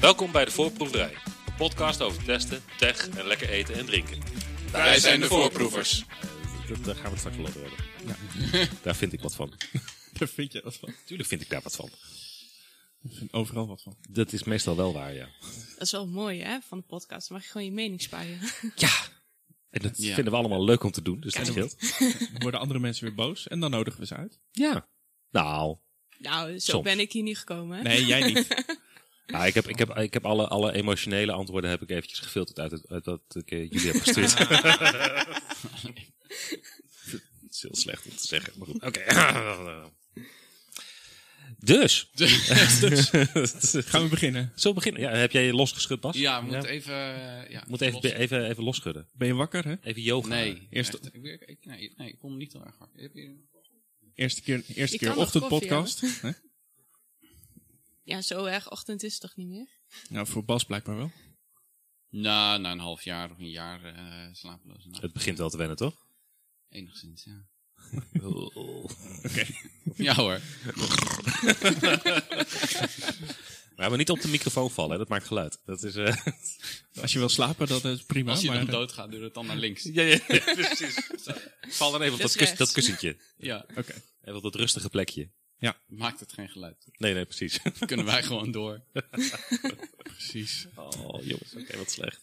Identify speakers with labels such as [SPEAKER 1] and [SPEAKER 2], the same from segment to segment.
[SPEAKER 1] Welkom bij de Voorproeverij, een podcast over testen, tech en lekker eten en drinken.
[SPEAKER 2] Wij zijn de voorproevers.
[SPEAKER 1] Dat- Daar gaan we het straks wel over hebben. Daar vind ik wat van.
[SPEAKER 3] Daar vind je wat van.
[SPEAKER 1] Tuurlijk vind ik daar wat van.
[SPEAKER 3] Ik vind overal wat van.
[SPEAKER 1] Dat is meestal wel waar, ja.
[SPEAKER 4] Dat is wel mooi, hè, van de podcast. Dan mag je gewoon je mening spuien.
[SPEAKER 1] Ja! En dat
[SPEAKER 2] Ja.
[SPEAKER 1] vinden we allemaal leuk om te doen, dus dat
[SPEAKER 3] Ja.
[SPEAKER 1] scheelt.
[SPEAKER 3] Dan worden andere mensen weer boos en dan nodigen we ze uit.
[SPEAKER 1] Ja. Nou,
[SPEAKER 4] Nou, zo
[SPEAKER 1] Soms.
[SPEAKER 4] ben ik hier niet gekomen. Hè?
[SPEAKER 3] Nee, jij niet.
[SPEAKER 1] ja, nou, ik heb, ik heb, ik heb alle, alle emotionele antwoorden heb ik eventjes gefilterd uit, het, uit wat ik eh, jullie heb gestuurd. Het is heel slecht om te zeggen, maar goed. Oké. Dus.
[SPEAKER 3] Gaan we beginnen.
[SPEAKER 1] Zo beginnen. Ja, heb jij je losgeschud, Bas?
[SPEAKER 2] Ja, we moeten even... eh, Ja,
[SPEAKER 1] Moet even,
[SPEAKER 2] los.
[SPEAKER 1] even, even losschudden.
[SPEAKER 3] Ben je wakker, hè?
[SPEAKER 1] Even yoga.
[SPEAKER 2] Nee,
[SPEAKER 3] Eerst-
[SPEAKER 2] echt, ik, ik, nee, nee, ik kon niet heel erg hard. Heb je-
[SPEAKER 3] Eerste keer, eerste
[SPEAKER 4] Ik
[SPEAKER 3] keer
[SPEAKER 4] kan nog
[SPEAKER 3] ochtendpodcast. Hè?
[SPEAKER 4] Ja, zo erg ochtend is het toch niet meer?
[SPEAKER 3] Nou, voor Bas blijkbaar wel.
[SPEAKER 2] Nou, na een half jaar of een jaar eh slapeloze nacht.
[SPEAKER 1] Het begint wel te wennen, toch?
[SPEAKER 2] Enigszins, ja.
[SPEAKER 1] Oh.
[SPEAKER 3] Oké.
[SPEAKER 2] Ja
[SPEAKER 1] Nou,
[SPEAKER 2] hoor.
[SPEAKER 1] Maar, maar niet op de microfoon vallen, hè. dat maakt geluid. Dat is. eh,
[SPEAKER 3] Als je wil slapen, dat is prima.
[SPEAKER 2] Als je
[SPEAKER 3] maar, eh,
[SPEAKER 2] dan doodgaat, doe het dan naar links.
[SPEAKER 1] ja, ja, precies. Val dan even op
[SPEAKER 4] Dus
[SPEAKER 1] dat, kus,
[SPEAKER 4] rechts.
[SPEAKER 1] dat kussentje.
[SPEAKER 2] Ja,
[SPEAKER 3] Oké.
[SPEAKER 1] Even op dat rustige plekje.
[SPEAKER 2] maakt het geen geluid.
[SPEAKER 1] Nee, nee, precies.
[SPEAKER 2] Dan kunnen wij gewoon door.
[SPEAKER 3] Precies.
[SPEAKER 1] Oh, jongens, oké, wat slecht.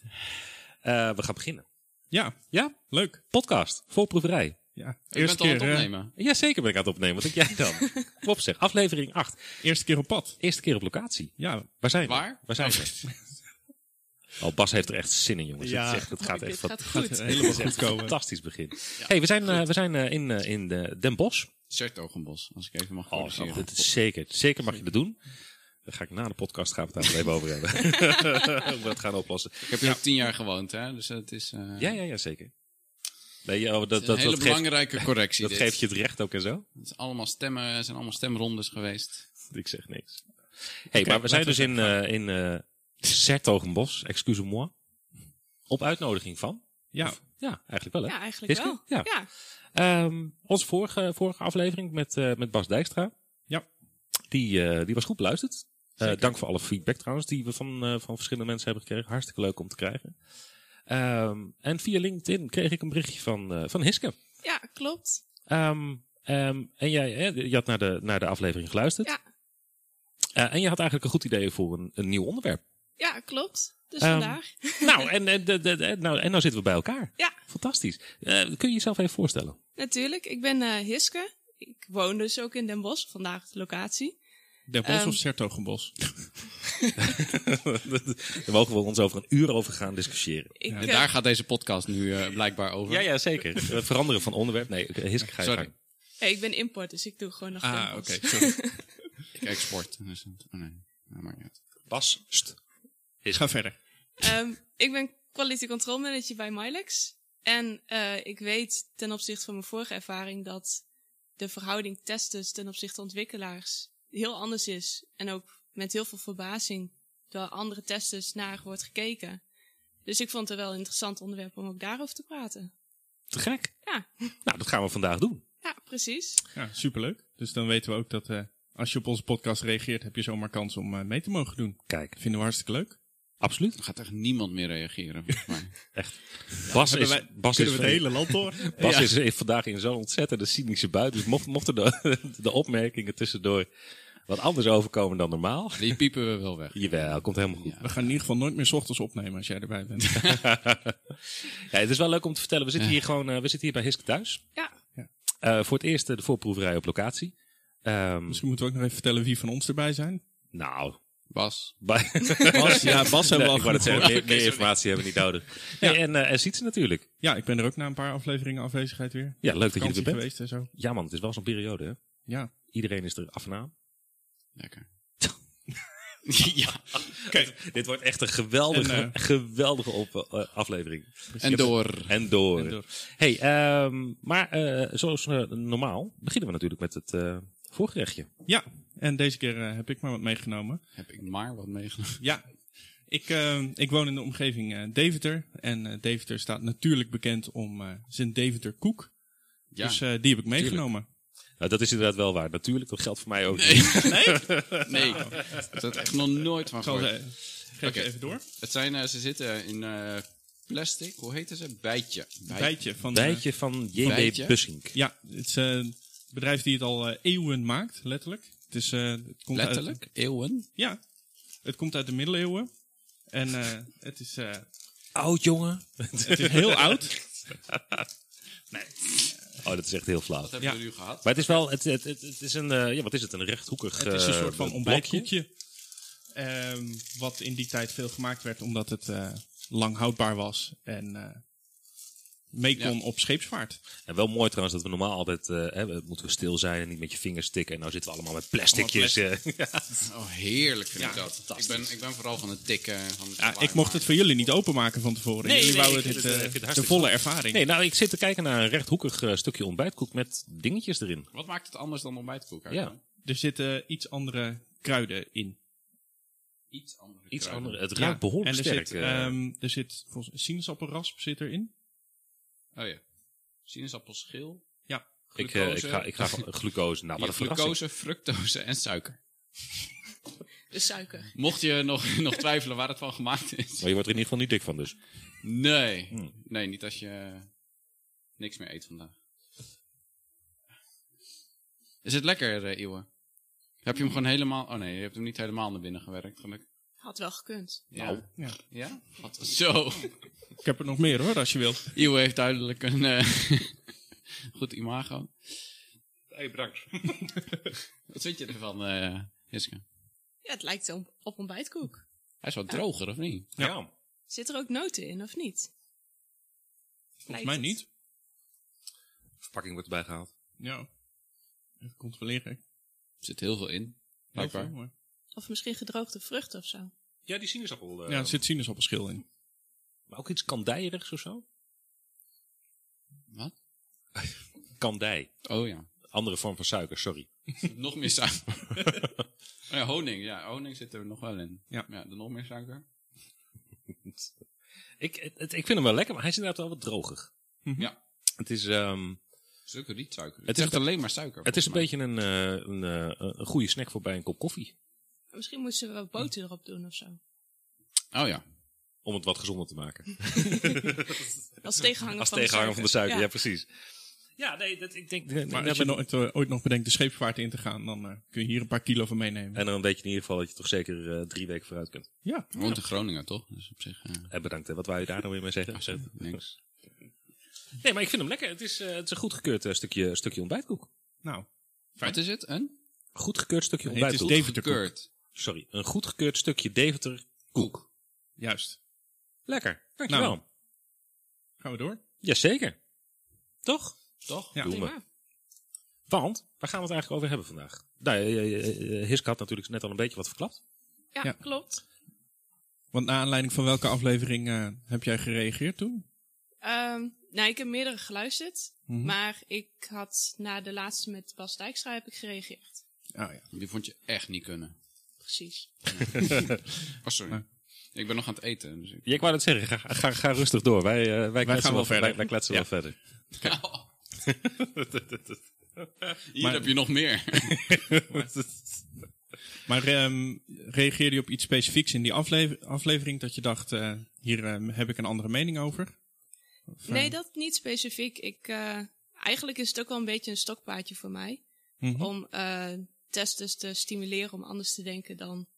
[SPEAKER 1] Eh, we gaan beginnen.
[SPEAKER 3] Ja,
[SPEAKER 1] Ja,
[SPEAKER 3] leuk.
[SPEAKER 1] podcast, voorproeverij.
[SPEAKER 3] Ja.
[SPEAKER 2] Je bent
[SPEAKER 3] Eerste
[SPEAKER 2] al aan
[SPEAKER 3] keer,
[SPEAKER 2] het
[SPEAKER 3] eh,
[SPEAKER 2] opnemen.
[SPEAKER 1] Jazeker ben ik aan het opnemen, wat denk jij dan? Kom op zeg, aflevering 8.
[SPEAKER 3] eerste keer op pad.
[SPEAKER 1] Eerste keer op locatie.
[SPEAKER 3] Ja,
[SPEAKER 1] Waar zijn we?
[SPEAKER 2] Waar?
[SPEAKER 1] Waar zijn we? Oh, Bas heeft er echt zin in, jongens.
[SPEAKER 3] Ja.
[SPEAKER 1] Het, is echt- het gaat
[SPEAKER 4] Dit
[SPEAKER 1] echt
[SPEAKER 4] gaat
[SPEAKER 1] wat,
[SPEAKER 3] gaat eh,
[SPEAKER 4] goed.
[SPEAKER 3] helemaal goed komen.
[SPEAKER 1] fantastisch begin. hey, we zijn, eh, we zijn eh, in, eh, in de Den Bosch.
[SPEAKER 2] Sertogenbos, als ik even mag
[SPEAKER 1] Oh,
[SPEAKER 2] corrigeren.
[SPEAKER 1] dit is zeker. Zeker mag je dat doen. Dan ga ik na de podcast gaan we het daar wel even over hebben. Hoe we dat gaan oplossen.
[SPEAKER 2] Ik heb hier ook tien jaar gewoond, hè. Dus het is, eh,
[SPEAKER 1] Ja, ja, ja, zeker. Nee, oh, dat,
[SPEAKER 2] het
[SPEAKER 1] dat,
[SPEAKER 2] is
[SPEAKER 1] dat,
[SPEAKER 2] een hele
[SPEAKER 1] geeft,
[SPEAKER 2] belangrijke correctie
[SPEAKER 1] dat
[SPEAKER 2] dit.
[SPEAKER 1] geeft je het recht ook en zo.
[SPEAKER 2] Het is allemaal stemmen, zijn allemaal stemrondes geweest.
[SPEAKER 1] Ik zeg niks. hey, maar we zijn dus in, eh in eh Sertogenbos, excuse-moi. Op uitnodiging van?
[SPEAKER 3] ja.
[SPEAKER 1] Ja, eigenlijk wel hè?
[SPEAKER 4] Ja, eigenlijk
[SPEAKER 1] Hiske?
[SPEAKER 4] wel.
[SPEAKER 1] Ja. Ehm, onze vorige, vorige aflevering met, eh, met Bas Dijkstra.
[SPEAKER 3] Ja.
[SPEAKER 1] Die, eh, die was goed beluisterd. Eh,
[SPEAKER 3] Zeker.
[SPEAKER 1] dank voor alle feedback trouwens, die we van, eh, van verschillende mensen hebben gekregen. Hartstikke leuk om te krijgen. Ehm, en via LinkedIn kreeg ik een berichtje van, eh, van Hiske.
[SPEAKER 4] Ja, klopt.
[SPEAKER 1] Ehm, ehm, en jij hè, je had naar de, naar de aflevering geluisterd.
[SPEAKER 4] Ja.
[SPEAKER 1] Eh, en je had eigenlijk een goed idee voor een, een nieuw onderwerp.
[SPEAKER 4] Ja, klopt. Dus
[SPEAKER 1] Ehm,
[SPEAKER 4] vandaag.
[SPEAKER 1] nou, en, en, de- de- de- nou, en nou zitten we bij elkaar.
[SPEAKER 4] Ja.
[SPEAKER 1] Fantastisch. Eh, kun je jezelf even voorstellen?
[SPEAKER 4] Natuurlijk, ik ben eh, Hiske. Ik woon dus ook in Den Bosch, vandaag de locatie.
[SPEAKER 3] Den Bosch
[SPEAKER 4] Ehm.
[SPEAKER 3] of Sertogenbos?
[SPEAKER 1] Daar mogen we ons over een uur over gaan discussiëren.
[SPEAKER 4] Ik,
[SPEAKER 2] En
[SPEAKER 4] eh,
[SPEAKER 2] daar gaat deze podcast nu eh, blijkbaar over.
[SPEAKER 1] ja, zeker. We Eh, veranderen van onderwerp. Nee, oké, Hiske, ga je
[SPEAKER 2] Sorry.
[SPEAKER 1] gang.
[SPEAKER 4] ja, ik ben import, dus ik doe gewoon nog Den
[SPEAKER 3] Ah,
[SPEAKER 4] Bosch.
[SPEAKER 3] oké. sorry.
[SPEAKER 2] Ik export. Dus dat- oh nee, dat maakt niet uit.
[SPEAKER 1] Bas, st.
[SPEAKER 3] Ga verder.
[SPEAKER 4] Ehm, ik ben Quality Control Manager bij Mylex. En eh, ik weet ten opzichte van mijn vorige ervaring dat de verhouding testers ten opzichte van ontwikkelaars heel anders is. En ook met heel veel verbazing door andere testers naar wordt gekeken. Dus ik vond het wel een interessant onderwerp om ook daarover te praten.
[SPEAKER 1] Te gek.
[SPEAKER 4] Ja.
[SPEAKER 1] Nou, dat gaan we vandaag doen.
[SPEAKER 4] Ja, precies.
[SPEAKER 3] Ja, superleuk. Dus dan weten we ook dat eh, als je op onze podcast reageert, heb je zomaar kans om eh, mee te mogen doen.
[SPEAKER 1] Kijk,
[SPEAKER 3] Vinden we hartstikke leuk.
[SPEAKER 1] absoluut.
[SPEAKER 2] Er gaat echt niemand meer reageren, volgens mij.
[SPEAKER 1] Bas is,
[SPEAKER 3] Hebben wij-
[SPEAKER 1] Bas is,
[SPEAKER 3] kunnen we het hele land door?
[SPEAKER 1] Bas
[SPEAKER 3] Ja.
[SPEAKER 1] is eh, vandaag in zo'n ontzettende cynische bui. Dus mocht- mochten de, de opmerkingen tussendoor wat anders overkomen dan normaal.
[SPEAKER 2] Die piepen we wel weg.
[SPEAKER 1] Jawel, komt helemaal goed.
[SPEAKER 2] Ja.
[SPEAKER 3] We gaan in ieder geval nooit meer 's ochtends opnemen als jij erbij bent.
[SPEAKER 1] Ja, het is wel leuk om te vertellen. We zitten hier gewoon eh, we zitten hier bij Hiske thuis.
[SPEAKER 4] Ja,
[SPEAKER 1] Eh, voor het eerst eh, de voorproeverij op locatie. Ehm,
[SPEAKER 3] Misschien moeten Dus we ook nog even vertellen wie van ons erbij zijn.
[SPEAKER 1] nou,
[SPEAKER 2] Bas.
[SPEAKER 1] bij-
[SPEAKER 3] Bas, ja, Bas hebben we al
[SPEAKER 1] Nee, ik wou
[SPEAKER 3] genoeg
[SPEAKER 1] net zeggen,
[SPEAKER 3] gehoord.
[SPEAKER 1] meer, meer informatie hebben we niet nodig. Nee, en, eh en ziet ze natuurlijk.
[SPEAKER 3] Ja, ik ben er ook na een paar afleveringen afwezigheid weer.
[SPEAKER 1] Ja, leuk dat je er
[SPEAKER 3] Vakantie
[SPEAKER 1] weer bent.
[SPEAKER 3] geweest en zo.
[SPEAKER 1] Ja man, het is wel zo'n periode hè.
[SPEAKER 3] Ja.
[SPEAKER 1] Iedereen is er af en aan.
[SPEAKER 2] Lekker. ja.
[SPEAKER 1] Dit wordt echt een geweldige,
[SPEAKER 3] En,
[SPEAKER 1] geweldige op, eh, aflevering.
[SPEAKER 3] Dus
[SPEAKER 2] En door.
[SPEAKER 1] En door.
[SPEAKER 3] En door.
[SPEAKER 1] Hey, ehm, maar eh, zoals eh, normaal beginnen we natuurlijk met het eh, voorgerechtje.
[SPEAKER 3] Ja, en deze keer eh, heb ik maar wat meegenomen.
[SPEAKER 2] Heb ik maar wat meegenomen.
[SPEAKER 3] Ja, ik, eh, ik woon in de omgeving eh, Deventer. En eh, Deventer staat natuurlijk bekend om eh, zijn Deventer koek.
[SPEAKER 2] Ja.
[SPEAKER 3] Dus eh, die heb ik meegenomen.
[SPEAKER 1] Nou, dat is inderdaad wel waar. Natuurlijk, dat geldt voor mij ook.
[SPEAKER 2] Nee. Nee. Dat heb ik echt nog nooit van
[SPEAKER 3] eh, Ik zal
[SPEAKER 2] gehoord.
[SPEAKER 3] ze, geef
[SPEAKER 2] Oké.
[SPEAKER 3] ze even door.
[SPEAKER 2] Het zijn, eh, ze zitten in eh, plastic, hoe heet ze? Bijtje. Bij-
[SPEAKER 3] Bijtje van de-
[SPEAKER 1] Bijtje van J.B.
[SPEAKER 2] Bijtje?
[SPEAKER 1] Bussink.
[SPEAKER 3] ja, het is eh, een bedrijf die het al eh, eeuwen maakt, letterlijk. Het is, eh, het komt Uit,
[SPEAKER 2] Letterlijk, eeuwen.
[SPEAKER 3] ja, het komt uit de middeleeuwen. En eh, het, is, eh,
[SPEAKER 1] Oud, jongen.
[SPEAKER 3] het is heel oud.
[SPEAKER 1] Oh, dat is echt heel flauw.
[SPEAKER 2] Wat hebben
[SPEAKER 3] Ja.
[SPEAKER 2] we nu gehad?
[SPEAKER 1] Maar het is wel, het, het, het, het is een, eh, ja, wat is het, een rechthoekig
[SPEAKER 3] Het is een
[SPEAKER 1] eh,
[SPEAKER 3] soort van
[SPEAKER 1] blokje.
[SPEAKER 3] ontbijtkoekje. Ehm, wat in die tijd veel gemaakt werd omdat het eh, lang houdbaar was. En eh mee kon op scheepsvaart.
[SPEAKER 1] En wel mooi trouwens dat we normaal altijd, eh, hè, we- moeten we stil zijn en niet met je vingers tikken. En nou zitten we allemaal met plasticjes. eh.
[SPEAKER 2] Oh, heerlijk vind
[SPEAKER 3] Ja,
[SPEAKER 2] ik dat. Ik ben, ik ben vooral van het tikken. Van het
[SPEAKER 3] Ja, ik
[SPEAKER 2] klaarmaken.
[SPEAKER 3] mocht het voor jullie niet openmaken van tevoren.
[SPEAKER 1] Nee,
[SPEAKER 3] jullie
[SPEAKER 1] nee,
[SPEAKER 3] wouden
[SPEAKER 1] ik vind
[SPEAKER 3] dit,
[SPEAKER 1] het, eh,
[SPEAKER 3] eh,
[SPEAKER 1] ik vind het
[SPEAKER 3] de
[SPEAKER 1] hartstikke
[SPEAKER 3] volle ervaring.
[SPEAKER 1] nee, nou, ik zit te kijken naar een rechthoekig eh, stukje ontbijtkoek met dingetjes erin.
[SPEAKER 2] Wat maakt het anders dan ontbijtkoek? uit
[SPEAKER 1] Ja.
[SPEAKER 2] dan?
[SPEAKER 3] Er zitten iets andere kruiden in.
[SPEAKER 2] Iets andere.
[SPEAKER 1] Iets
[SPEAKER 2] kruiden.
[SPEAKER 1] anders. Het
[SPEAKER 3] Ja,
[SPEAKER 1] ruikt behoorlijk
[SPEAKER 3] en er
[SPEAKER 1] sterk.
[SPEAKER 3] Zit,
[SPEAKER 1] eh.
[SPEAKER 3] ehm, er zit volgens mij sinaasappelrasp zit erin.
[SPEAKER 2] Oh ja. Sinaasappelschil.
[SPEAKER 3] Ja.
[SPEAKER 1] ik, eh, ik
[SPEAKER 2] glucose.
[SPEAKER 1] ga, ik ga glucose. Nou, wat een
[SPEAKER 2] Ja,
[SPEAKER 1] verrassing.
[SPEAKER 2] glucose, fructose en suiker.
[SPEAKER 4] De suiker.
[SPEAKER 2] Mocht je nog, nog twijfelen waar het van gemaakt is.
[SPEAKER 1] Maar je wordt er in ieder geval niet dik van dus.
[SPEAKER 2] Nee.
[SPEAKER 1] Hmm.
[SPEAKER 2] Nee, niet als je eh, niks meer eet vandaag. Is het lekker, eh Iwe? Heb je hem gewoon helemaal... Oh nee, je hebt hem niet helemaal naar binnen gewerkt, gelukkig.
[SPEAKER 4] Had wel gekund.
[SPEAKER 2] Ja.
[SPEAKER 1] Nou.
[SPEAKER 3] Ja.
[SPEAKER 2] Ja? Wat- Zo.
[SPEAKER 3] Ik heb er nog meer hoor, als je wil.
[SPEAKER 2] Iwe heeft duidelijk een eh, goed imago.
[SPEAKER 3] Hey, bedankt.
[SPEAKER 2] Wat vind je ervan, eh Hiske?
[SPEAKER 4] Ja, het lijkt op, op ontbijtkoek.
[SPEAKER 2] Hij is wat droger, of niet?
[SPEAKER 1] Ja.
[SPEAKER 4] Zit er ook noten in, of niet? Volgens
[SPEAKER 3] Mij niet.
[SPEAKER 1] Verpakking wordt erbij gehaald.
[SPEAKER 3] Ja. Even controleren.
[SPEAKER 2] Er zit heel veel in.
[SPEAKER 3] Heel
[SPEAKER 2] Blijkbaar.
[SPEAKER 3] veel, maar-
[SPEAKER 4] Of misschien gedroogde vruchten of zo.
[SPEAKER 1] Ja, die sinaasappel. eh,
[SPEAKER 3] Ja, er zit sinaasappelschil in.
[SPEAKER 1] Maar ook iets kandijerigs of zo?
[SPEAKER 2] Wat?
[SPEAKER 1] Kandij.
[SPEAKER 2] Oh ja.
[SPEAKER 1] Andere vorm van suiker, sorry.
[SPEAKER 2] nog meer suiker. oh ja, honing. Ja, honing zit er nog wel in.
[SPEAKER 3] Ja.
[SPEAKER 2] ja er nog meer suiker.
[SPEAKER 1] Ik, het- het- ik vind hem wel lekker, maar hij is inderdaad wel wat droger.
[SPEAKER 3] Mhm.
[SPEAKER 2] Ja.
[SPEAKER 1] Het is, ehm,
[SPEAKER 2] Suiker, niet suiker.
[SPEAKER 1] Het
[SPEAKER 2] Het
[SPEAKER 1] is
[SPEAKER 2] is echt alleen maar suiker.
[SPEAKER 1] het is een
[SPEAKER 2] volgens
[SPEAKER 1] beetje een, eh, een, eh, een goede snack voor bij een kop koffie.
[SPEAKER 4] Misschien moesten we wat boter erop doen of zo.
[SPEAKER 2] mij. Oh ja.
[SPEAKER 1] Om het wat gezonder te maken.
[SPEAKER 4] Als tegenhanger,
[SPEAKER 1] Als
[SPEAKER 4] van, de
[SPEAKER 1] tegenhanger van de suiker, ja,
[SPEAKER 4] Ja.
[SPEAKER 1] precies. Ja, nee, dat, ik denk... nee,
[SPEAKER 3] Maar
[SPEAKER 1] nee,
[SPEAKER 3] als je
[SPEAKER 1] maar-
[SPEAKER 3] nooit, eh, ooit nog bedenkt de scheepvaart in te gaan, dan eh, kun je hier een paar kilo van meenemen.
[SPEAKER 1] En dan weet je in ieder geval dat je toch zeker eh, drie weken vooruit kunt.
[SPEAKER 3] ja.
[SPEAKER 2] Je woont in Groningen, toch? Dus op zich... eh,
[SPEAKER 1] En bedankt, hè. wat wou je daar nou weer mee zeggen?
[SPEAKER 2] niks.
[SPEAKER 1] Nee, maar ik vind hem lekker. Het is, eh, het is een goedgekeurd eh, stukje, stukje ontbijtkoek.
[SPEAKER 3] Nou,
[SPEAKER 2] Wat is het? Een?
[SPEAKER 1] Goedgekeurd stukje
[SPEAKER 3] Nee, het is
[SPEAKER 1] ontbijtkoek.
[SPEAKER 3] Deventerkoek.
[SPEAKER 2] Gekeurd.
[SPEAKER 1] Sorry, een goedgekeurd stukje Deventer koek.
[SPEAKER 3] juist.
[SPEAKER 1] Lekker, dankjewel.
[SPEAKER 3] Nou. Gaan we door?
[SPEAKER 1] Jazeker. Toch?
[SPEAKER 2] Toch?
[SPEAKER 3] Ja.
[SPEAKER 1] Doen we.
[SPEAKER 4] Prima.
[SPEAKER 1] Want, waar gaan we het eigenlijk over hebben vandaag? Nou, eh, eh, eh, Hiske had natuurlijk net al een beetje wat verklapt.
[SPEAKER 4] Ja,
[SPEAKER 3] Ja.
[SPEAKER 4] klopt.
[SPEAKER 3] Want naar aanleiding van welke aflevering eh, heb jij gereageerd toen?
[SPEAKER 4] Ehm, nou, ik heb meerdere geluisterd.
[SPEAKER 3] Mhm.
[SPEAKER 4] Maar ik had na de laatste met Bas Dijkstra heb ik gereageerd.
[SPEAKER 3] Ah, ja.
[SPEAKER 2] Die vond je echt niet kunnen.
[SPEAKER 4] Precies.
[SPEAKER 2] Oh, sorry.
[SPEAKER 3] Ja.
[SPEAKER 2] Ik ben nog aan het eten. Dus ik...
[SPEAKER 1] Ja, ik wou dat zeggen, ga, ga, ga rustig door. Wij, eh, wij, kletsen
[SPEAKER 3] gaan wel verder.
[SPEAKER 1] Wij, wij kletsen wel verder.
[SPEAKER 2] Hier
[SPEAKER 3] Maar-
[SPEAKER 2] heb je nog meer.
[SPEAKER 3] Maar ehm, reageerde je op iets specifieks in die aflever- aflevering dat je dacht, eh, hier ehm, heb ik een andere mening over? Of, eh,
[SPEAKER 4] Nee, dat niet specifiek. Ik, eh, eigenlijk is het ook wel een beetje een stokpaardje voor mij.
[SPEAKER 3] mhm.
[SPEAKER 4] Om eh testers te stimuleren om anders te denken dan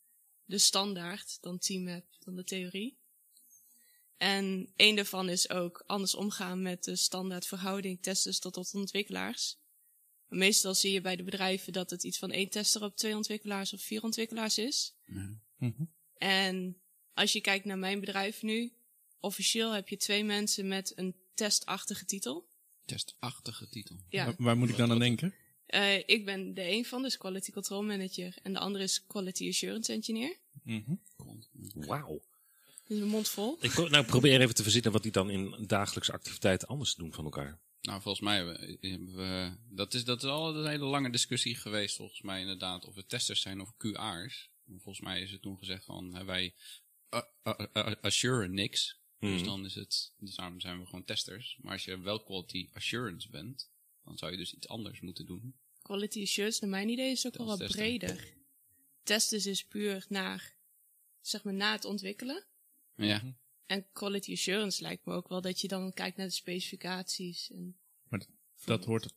[SPEAKER 4] de standaard, dan teammap, dan de theorie. En één daarvan is ook anders omgaan met de standaard verhouding testers tot, tot ontwikkelaars. Meestal zie je bij de bedrijven dat het iets van één tester op twee ontwikkelaars of vier ontwikkelaars is.
[SPEAKER 3] Mhm.
[SPEAKER 4] En als je kijkt naar mijn bedrijf nu, officieel heb je twee mensen met een testachtige titel.
[SPEAKER 2] Testachtige titel.
[SPEAKER 4] Ja,
[SPEAKER 3] Wa- Waar moet ik dan aan denken?
[SPEAKER 4] eh, ik ben de een van, dus Quality Control Manager. En de andere is Quality Assurance Engineer.
[SPEAKER 3] Mhm.
[SPEAKER 1] Wauw.
[SPEAKER 4] Dus mijn mond vol.
[SPEAKER 1] Ik pro- nou, probeer even te verzinnen wat die dan in dagelijkse activiteiten anders doen van elkaar.
[SPEAKER 2] Nou, volgens mij hebben hebben we... Dat is, dat is al een hele lange discussie geweest, volgens mij inderdaad. Of het testers zijn of QA's. Volgens mij is het toen gezegd van, hè, wij uh, uh, uh, assuren niks. Dus
[SPEAKER 1] Mhm.
[SPEAKER 2] dan is het, dus daarom zijn we gewoon testers. Maar als je wel quality assurance bent, dan zou je dus iets anders moeten doen.
[SPEAKER 4] Quality assurance, naar mijn idee, is ook wel
[SPEAKER 2] Dat
[SPEAKER 4] wat
[SPEAKER 2] is testen.
[SPEAKER 4] breder. Testen is puur naar, zeg maar, na het ontwikkelen.
[SPEAKER 2] Ja.
[SPEAKER 1] Mhm.
[SPEAKER 4] En quality assurance lijkt me ook wel dat je dan kijkt naar de specificaties. En
[SPEAKER 3] Dat hoort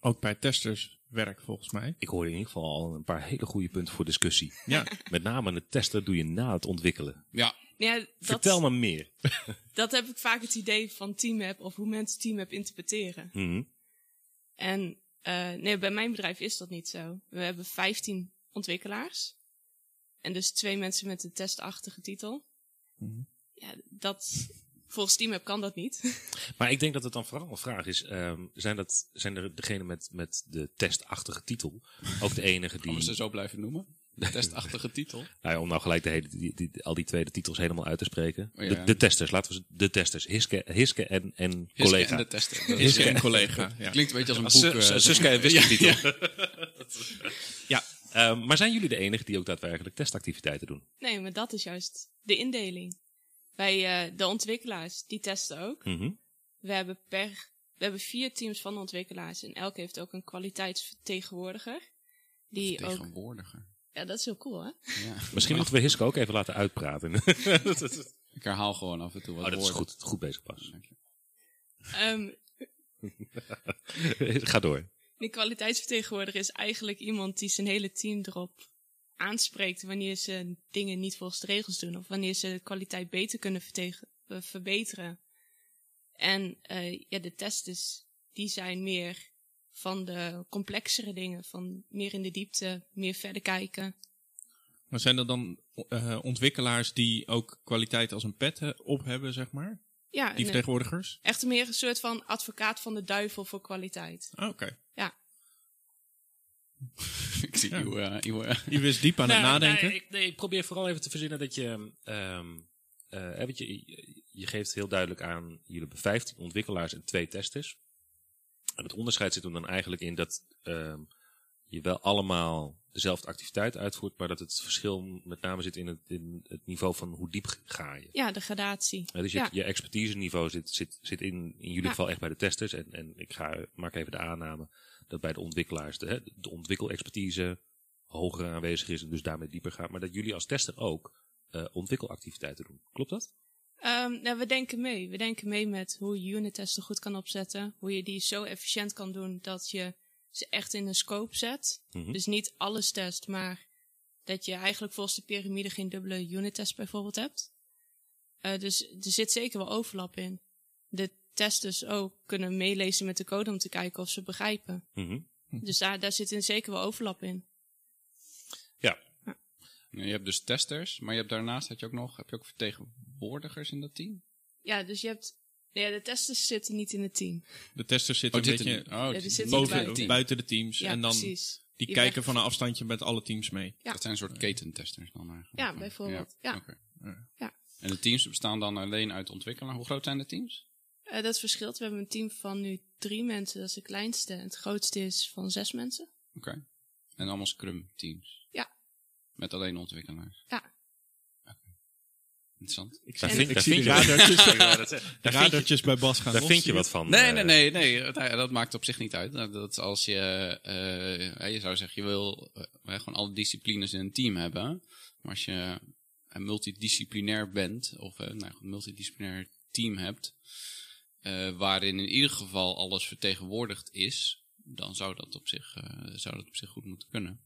[SPEAKER 3] ook bij testerswerk volgens mij.
[SPEAKER 1] Ik hoorde in ieder geval al een paar hele goede punten voor discussie.
[SPEAKER 3] Ja,
[SPEAKER 1] Met name het testen doe je na het ontwikkelen.
[SPEAKER 2] Ja,
[SPEAKER 4] Nou ja, dat,
[SPEAKER 1] Vertel me meer.
[SPEAKER 4] dat heb ik vaak het idee van TeamApp of hoe mensen TeamApp interpreteren.
[SPEAKER 1] Mhm.
[SPEAKER 4] En eh, nee, bij mijn bedrijf is dat niet zo. We hebben 15 ontwikkelaars. En dus twee mensen met een testachtige titel.
[SPEAKER 3] Mhm.
[SPEAKER 4] Ja, dat, volgens TeamApp kan dat niet.
[SPEAKER 1] Maar ik denk dat het dan vooral een vraag is: ehm, zijn, dat, zijn er degene met, met de testachtige titel ook de enige die.
[SPEAKER 2] gaan we ze zo blijven noemen. De testachtige titel.
[SPEAKER 1] Nou ja, om nou gelijk de hele, die, die- al die tweede titels helemaal uit te spreken.
[SPEAKER 2] Oh ja.
[SPEAKER 1] de, de testers, laten we ze. De testers. Hiske, Hiske en, en
[SPEAKER 2] Hiske
[SPEAKER 1] collega.
[SPEAKER 2] en de eh, tester. Dat
[SPEAKER 3] is
[SPEAKER 2] is
[SPEAKER 3] een collega.
[SPEAKER 2] Ja.
[SPEAKER 3] Ja.
[SPEAKER 2] Klinkt een beetje als
[SPEAKER 1] Als
[SPEAKER 2] een
[SPEAKER 1] Su-
[SPEAKER 2] boek. eh,
[SPEAKER 1] Su-
[SPEAKER 2] dat-
[SPEAKER 1] Ah, Suske en Wiske
[SPEAKER 2] Ja,
[SPEAKER 1] titel.
[SPEAKER 2] ja.
[SPEAKER 1] Ehm, maar zijn jullie de enige die ook daadwerkelijk testactiviteiten doen?
[SPEAKER 4] Nee, maar dat is juist de indeling. Wij, eh, de ontwikkelaars, die testen ook.
[SPEAKER 1] Mhm.
[SPEAKER 4] We hebben per, we hebben vier teams van de ontwikkelaars. En elk heeft ook een kwaliteitsvertegenwoordiger. Die ook,
[SPEAKER 2] Tegenwoordiger.
[SPEAKER 4] ja, dat is heel cool, hè?
[SPEAKER 2] Ja.
[SPEAKER 1] Misschien moeten we Hiske ook even laten uitpraten. oh,
[SPEAKER 2] Ik herhaal gewoon af en toe wat
[SPEAKER 1] dat is
[SPEAKER 2] woorden.
[SPEAKER 1] goed, goed bezig, Bas.
[SPEAKER 2] Dank je.
[SPEAKER 4] Ehm,
[SPEAKER 1] Ga door.
[SPEAKER 4] De kwaliteitsvertegenwoordiger is eigenlijk iemand die zijn hele team erop aanspreekt wanneer ze dingen niet volgens de regels doen of wanneer ze de kwaliteit beter kunnen vertegen- eh, verbeteren. En eh, ja, de testers, die zijn meer van de complexere dingen, van meer in de diepte, meer verder kijken.
[SPEAKER 3] Maar zijn er dan eh, ontwikkelaars die ook kwaliteit als een pet eh, op hebben, zeg maar?
[SPEAKER 4] Ja,
[SPEAKER 3] Die
[SPEAKER 4] en, eh,
[SPEAKER 3] vertegenwoordigers?
[SPEAKER 4] echt meer een soort van advocaat van de duivel voor kwaliteit.
[SPEAKER 3] Ah, Oké.
[SPEAKER 2] Ik zie
[SPEAKER 3] Ja.
[SPEAKER 2] uw, eh, uw, eh,
[SPEAKER 3] Die was diep aan het
[SPEAKER 1] Nou,
[SPEAKER 3] nadenken.
[SPEAKER 1] nou, ik, nee, ik probeer vooral even te verzinnen dat je, ehm, eh, hè, want je. Je geeft heel duidelijk aan, jullie hebben 15 ontwikkelaars en twee testers. En het onderscheid zit hem dan eigenlijk in dat ehm, je wel allemaal dezelfde activiteit uitvoert, maar dat het verschil met name zit in het, in het niveau van hoe diep ga je.
[SPEAKER 4] Ja, de gradatie.
[SPEAKER 1] Hè, dus je,
[SPEAKER 4] Ja.
[SPEAKER 1] je expertise-niveau zit, zit, zit in, in jullie
[SPEAKER 4] Ja.
[SPEAKER 1] geval echt bij de testers. En, en ik ga, maak even de aanname dat bij de ontwikkelaars de, hè, de ontwikkelexpertise hoger aanwezig is en dus daarmee dieper gaat. Maar dat jullie als tester ook eh, ontwikkelactiviteiten doen. Klopt dat?
[SPEAKER 4] Ehm, nou, we denken mee. We denken mee met hoe je unittesten goed kan opzetten. Hoe je die zo efficiënt kan doen dat je ze echt in een scope zet.
[SPEAKER 1] Mhm.
[SPEAKER 4] Dus niet alles test, maar dat je eigenlijk volgens de piramide geen dubbele unittest bijvoorbeeld hebt. Eh, dus er zit zeker wel overlap in. De testers ook kunnen meelezen met de code om te kijken of ze begrijpen.
[SPEAKER 1] Mhm.
[SPEAKER 4] Dus daar, daar zit in zeker wel overlap in.
[SPEAKER 2] je hebt dus testers, maar je hebt daarnaast had je ook nog, heb je ook vertegenwoordigers in dat team?
[SPEAKER 4] Ja, dus je hebt... Ja, de testers zitten niet in het team.
[SPEAKER 3] De testers zitten een beetje
[SPEAKER 2] niet- oh,
[SPEAKER 4] die
[SPEAKER 2] die
[SPEAKER 4] zitten
[SPEAKER 3] boven,
[SPEAKER 2] boven het
[SPEAKER 4] buiten.
[SPEAKER 2] team.
[SPEAKER 3] buiten de teams.
[SPEAKER 4] Ja,
[SPEAKER 3] Dus en dan
[SPEAKER 4] precies.
[SPEAKER 3] die
[SPEAKER 4] Je
[SPEAKER 3] kijken
[SPEAKER 4] bent-
[SPEAKER 3] van een afstandje met alle teams mee.
[SPEAKER 4] Ja.
[SPEAKER 2] Dat zijn een soort ketentesters dan eigenlijk.
[SPEAKER 4] Ja, bijvoorbeeld. Ja.
[SPEAKER 2] oké.
[SPEAKER 4] Ja.
[SPEAKER 2] En de teams bestaan dan alleen uit ontwikkelaar. Hoe groot zijn de teams?
[SPEAKER 4] Eh, dat verschilt. We hebben een team van nu drie mensen, dat is de kleinste. En het grootste is van zes mensen.
[SPEAKER 2] Oké. En allemaal scrum teams?
[SPEAKER 4] Ja.
[SPEAKER 2] Met alleen ontwikkelaars?
[SPEAKER 4] Ja.
[SPEAKER 2] Oké. Interessant.
[SPEAKER 3] Ik
[SPEAKER 1] Daar
[SPEAKER 4] zie-
[SPEAKER 1] vind-
[SPEAKER 3] ik
[SPEAKER 1] daar
[SPEAKER 3] zie
[SPEAKER 1] vind
[SPEAKER 3] de
[SPEAKER 1] je-
[SPEAKER 3] radertjes, de
[SPEAKER 1] Daar vind je-
[SPEAKER 3] radertjes bij Bas gaan
[SPEAKER 1] daar vind je
[SPEAKER 3] rondsturen.
[SPEAKER 1] wat van.
[SPEAKER 2] Nee,
[SPEAKER 1] eh,
[SPEAKER 2] nee, nee, nee. Dat, dat maakt op zich niet uit. Dat dat als je, eh, je zou zeggen, je wil eh, gewoon alle disciplines in een team hebben. Maar als je een multidisciplinair bent, of eh, nou, goed, een multidisciplinair team hebt, eh, waarin in ieder geval alles vertegenwoordigd is, dan zou dat op zich, eh, zou dat op zich goed moeten kunnen.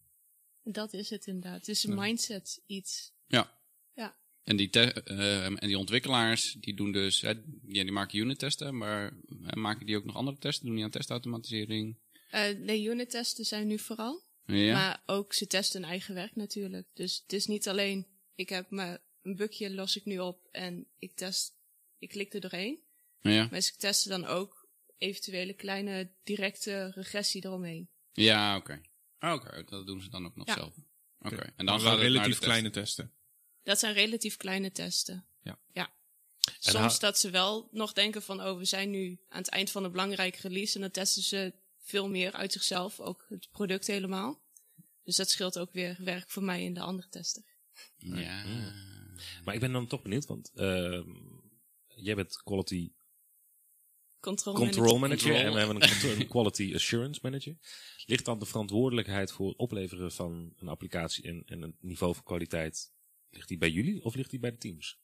[SPEAKER 4] Dat is het inderdaad. Het is een mindset iets.
[SPEAKER 2] Ja.
[SPEAKER 4] Ja.
[SPEAKER 2] En die, te- eh, en die ontwikkelaars, die doen dus, hè, ja, die maken unit testen, maar eh, maken die ook nog andere testen? Doen die aan testautomatisering?
[SPEAKER 4] Eh de unittesten zijn nu vooral.
[SPEAKER 2] Ja.
[SPEAKER 4] Maar ook ze testen hun eigen werk natuurlijk. Dus het is niet alleen, ik heb maar een bugje, los ik nu op en ik test, ik klik er doorheen.
[SPEAKER 2] Ja,
[SPEAKER 4] Maar ze testen dan ook eventuele kleine directe regressie eromheen.
[SPEAKER 2] ja oké. Ah, Oké, dat doen ze dan ook nog
[SPEAKER 4] Ja.
[SPEAKER 2] zelf. Oké, en
[SPEAKER 3] Maar wel
[SPEAKER 2] dan gaat het naar de
[SPEAKER 3] relatief
[SPEAKER 2] test.
[SPEAKER 3] kleine testen.
[SPEAKER 4] Dat zijn relatief kleine testen.
[SPEAKER 3] Ja.
[SPEAKER 4] ja.
[SPEAKER 1] En
[SPEAKER 4] Soms
[SPEAKER 1] ha-
[SPEAKER 4] dat ze wel nog denken van, oh, we zijn nu aan het eind van een belangrijke release. En dan testen ze veel meer uit zichzelf, ook het product helemaal. Dus dat scheelt ook weer werk voor mij en de andere tester.
[SPEAKER 2] Ja.
[SPEAKER 1] Maar ik ben dan toch benieuwd, want ehm, jij bent quality
[SPEAKER 4] Control,
[SPEAKER 1] control manager
[SPEAKER 2] Control.
[SPEAKER 1] en we hebben een, contro- een quality assurance manager. Ligt dan de verantwoordelijkheid voor het opleveren van een applicatie en, en het niveau van kwaliteit, ligt die bij jullie of ligt die bij de teams?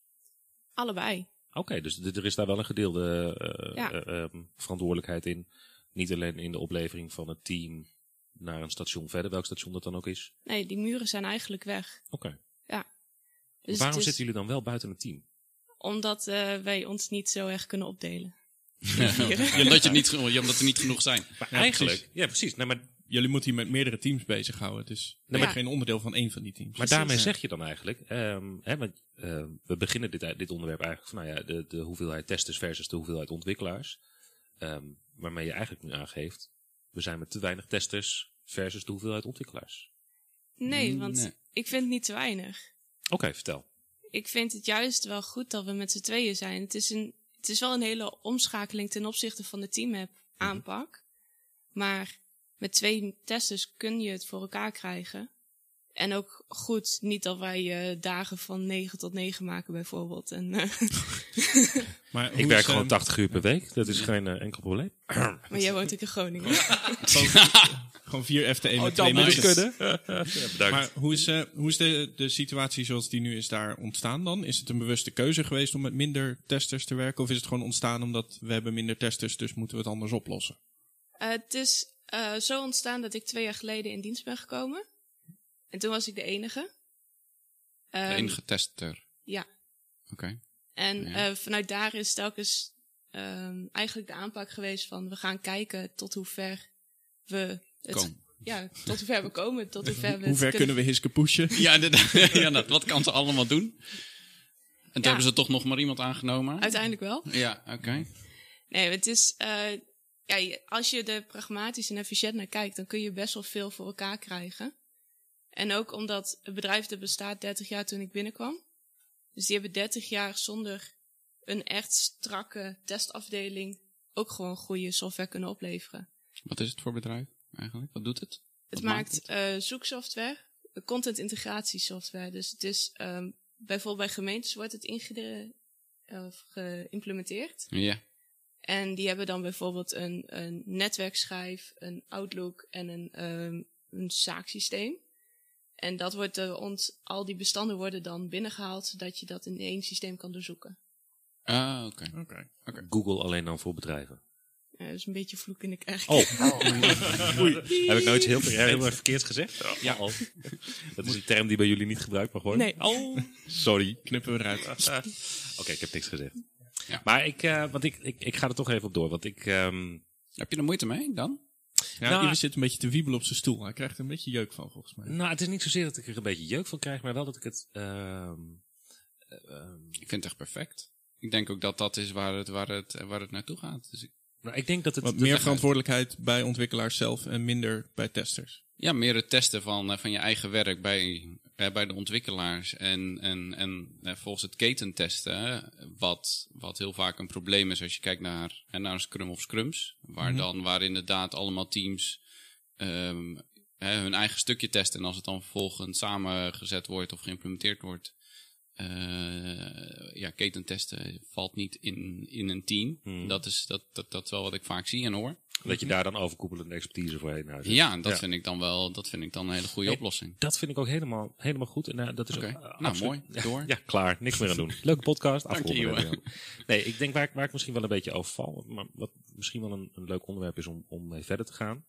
[SPEAKER 4] Allebei.
[SPEAKER 1] Oké, dus d- er is daar wel een gedeelde eh,
[SPEAKER 4] Ja.
[SPEAKER 1] eh, ehm, verantwoordelijkheid in. Niet alleen in de oplevering van het team naar een station verder, welk station dat dan ook is.
[SPEAKER 4] Nee, die muren zijn eigenlijk weg.
[SPEAKER 1] Oké.
[SPEAKER 4] Dus
[SPEAKER 1] Waarom
[SPEAKER 4] het is-
[SPEAKER 1] zitten jullie dan wel buiten het team?
[SPEAKER 4] Omdat eh, wij ons niet zo erg kunnen opdelen.
[SPEAKER 2] Ja, omdat, je niet, ge- ja, omdat er niet genoeg zijn.
[SPEAKER 1] Maar
[SPEAKER 3] Ja,
[SPEAKER 1] eigenlijk,
[SPEAKER 3] precies.
[SPEAKER 1] ja precies. Nou, maar
[SPEAKER 3] Jullie moeten hier met meerdere teams bezighouden. Dus
[SPEAKER 1] maar-
[SPEAKER 3] ben je geen onderdeel van één van die teams. Dus, eh,
[SPEAKER 1] Maar
[SPEAKER 4] Precies,
[SPEAKER 1] daarmee
[SPEAKER 4] ja.
[SPEAKER 1] zeg je dan eigenlijk, ehm, hè, want ehm, we beginnen dit, dit onderwerp eigenlijk van nou ja, de, de hoeveelheid testers versus de hoeveelheid ontwikkelaars. Ehm, waarmee je eigenlijk nu aangeeft, we zijn met te weinig testers versus de hoeveelheid ontwikkelaars.
[SPEAKER 4] Nee, want
[SPEAKER 2] Nee.
[SPEAKER 4] ik vind het niet te weinig.
[SPEAKER 1] Oké, vertel.
[SPEAKER 4] Ik vind het juist wel goed dat we met z'n tweeën zijn. Het is, een, het is wel een hele omschakeling ten opzichte van de teamapp
[SPEAKER 2] Mhm.
[SPEAKER 4] aanpak. Maar met twee testers kun je het voor elkaar krijgen. En ook goed, niet dat wij eh, dagen van 9 tot 9 maken bijvoorbeeld. En, eh,
[SPEAKER 3] Maar hoe
[SPEAKER 1] Ik
[SPEAKER 3] is,
[SPEAKER 1] werk
[SPEAKER 3] ehm,
[SPEAKER 1] gewoon 80 uur per week, dat is geen eh, enkel probleem.
[SPEAKER 4] maar jij woont ook in Groningen.
[SPEAKER 3] Gewoon vier FTE
[SPEAKER 1] Oh,
[SPEAKER 3] met
[SPEAKER 2] dat
[SPEAKER 3] twee
[SPEAKER 1] Ah,
[SPEAKER 2] moet
[SPEAKER 3] mensen.
[SPEAKER 1] kunnen. bedankt.
[SPEAKER 3] Maar hoe is, eh, hoe is de, de situatie zoals die nu is daar ontstaan dan? Is het een bewuste keuze geweest om met minder testers te werken? Of is het gewoon ontstaan omdat we hebben minder testers, dus moeten we het anders oplossen?
[SPEAKER 4] Eh, het is eh, zo ontstaan dat ik twee jaar geleden in dienst ben gekomen. En toen was ik de enige.
[SPEAKER 2] De
[SPEAKER 4] Ehm,
[SPEAKER 2] enige tester.
[SPEAKER 4] Ja.
[SPEAKER 2] Oké.
[SPEAKER 4] En
[SPEAKER 2] Ja.
[SPEAKER 4] eh, vanuit daar is telkens ehm, eigenlijk de aanpak geweest van we gaan kijken tot hoe ver we het,
[SPEAKER 2] Kom.
[SPEAKER 4] Ja, tot hoe ver we komen, tot hoe ver we
[SPEAKER 3] Hoe ver kunnen we Hiske pushen?
[SPEAKER 2] Ja, inderdaad. ja, dat, wat kan ze allemaal doen? En toen
[SPEAKER 4] Ja.
[SPEAKER 2] hebben ze toch nog maar iemand aangenomen.
[SPEAKER 4] Uiteindelijk wel.
[SPEAKER 2] Ja, oké.
[SPEAKER 4] Nee, het is eh, ja, je- als je er pragmatisch en efficiënt naar kijkt, dan kun je best wel veel voor elkaar krijgen. En ook omdat het bedrijf dat bestaat 30 jaar toen ik binnenkwam. Dus die hebben 30 jaar zonder een echt strakke testafdeling ook gewoon goede software kunnen opleveren.
[SPEAKER 2] Wat is het voor bedrijf eigenlijk? Wat doet het?
[SPEAKER 4] Het
[SPEAKER 2] Wat
[SPEAKER 4] maakt eh, zoeksoftware, eh, content integratie software. Dus het is ehm, bijvoorbeeld bij gemeentes wordt het ingede- of geïmplementeerd.
[SPEAKER 2] Ja.
[SPEAKER 4] En die hebben dan bijvoorbeeld een, een netwerkschijf, een Outlook en een, ehm, een zaaksysteem. En dat wordt eh, ont, al die bestanden worden dan binnengehaald, zodat je dat in één systeem kan doorzoeken.
[SPEAKER 2] Ah, oké.
[SPEAKER 1] Google alleen dan voor bedrijven.
[SPEAKER 4] Eh, dat is een beetje vloek in de kerk.
[SPEAKER 1] Oh, heb ik nou iets heel, heel erg verkeerds gezegd? Ja. Dat is een term die bij jullie niet gebruikt mag worden.
[SPEAKER 4] Nee.
[SPEAKER 1] Oh, sorry.
[SPEAKER 3] Knippen we eruit.
[SPEAKER 1] Eh, Oké, ik heb niks gezegd.
[SPEAKER 2] Ja.
[SPEAKER 1] Maar ik, eh, want ik, ik, ik ga er toch even op door. Want ik, ehm,
[SPEAKER 2] Heb je er moeite mee dan?
[SPEAKER 3] Ja,
[SPEAKER 1] Nou,
[SPEAKER 3] Iwe zit een beetje te wiebelen op zijn stoel. Hij krijgt er een beetje jeuk van, volgens mij.
[SPEAKER 1] nou, het is niet zozeer dat ik er een beetje jeuk van krijg, maar wel dat ik het. ehm, eh, ehm,
[SPEAKER 2] Ik vind het echt perfect. Ik denk ook dat dat is waar het, waar het, waar het naartoe gaat. Dus ik-
[SPEAKER 1] nou, ik denk dat het.
[SPEAKER 3] Wat
[SPEAKER 1] dat-
[SPEAKER 3] meer verantwoordelijkheid bij ontwikkelaars zelf en minder bij testers.
[SPEAKER 2] ja, meer het testen van, eh, van je eigen werk bij, eh, bij de ontwikkelaars. En, en, en eh, volgens het ketentesten, eh, wat, wat heel vaak een probleem is als je kijkt naar, eh, naar een Scrum of Scrums. Waar,
[SPEAKER 1] Mhm.
[SPEAKER 2] dan, waar inderdaad allemaal teams ehm, hè, hun eigen stukje testen. En als het dan vervolgens samengezet wordt of geïmplementeerd wordt. eh, ja, ketentesten valt niet in, in een team.
[SPEAKER 1] Hmm.
[SPEAKER 2] Dat, is, dat, dat, dat is wel wat ik vaak zie en hoor.
[SPEAKER 1] dat je daar dan overkoepelende expertise voor heen houdt.
[SPEAKER 2] Ja, dat
[SPEAKER 1] Ja.
[SPEAKER 2] vind ik dan wel dat vind ik dan een hele goede
[SPEAKER 1] Hey,
[SPEAKER 2] oplossing.
[SPEAKER 1] Dat vind ik ook helemaal, helemaal goed. En eh, dat is
[SPEAKER 2] Oké.
[SPEAKER 1] ook, eh,
[SPEAKER 2] Nou,
[SPEAKER 1] absoluut-
[SPEAKER 2] mooi. Door.
[SPEAKER 1] Ja, ja, klaar. Niks meer aan doen. Leuke podcast.
[SPEAKER 2] Dank je,
[SPEAKER 1] Afronden.
[SPEAKER 2] jongen.
[SPEAKER 1] Daniel. Nee, ik denk waar, ik- waar ik misschien wel een beetje over val. Maar wat misschien wel een, een leuk onderwerp is om, om mee verder te gaan.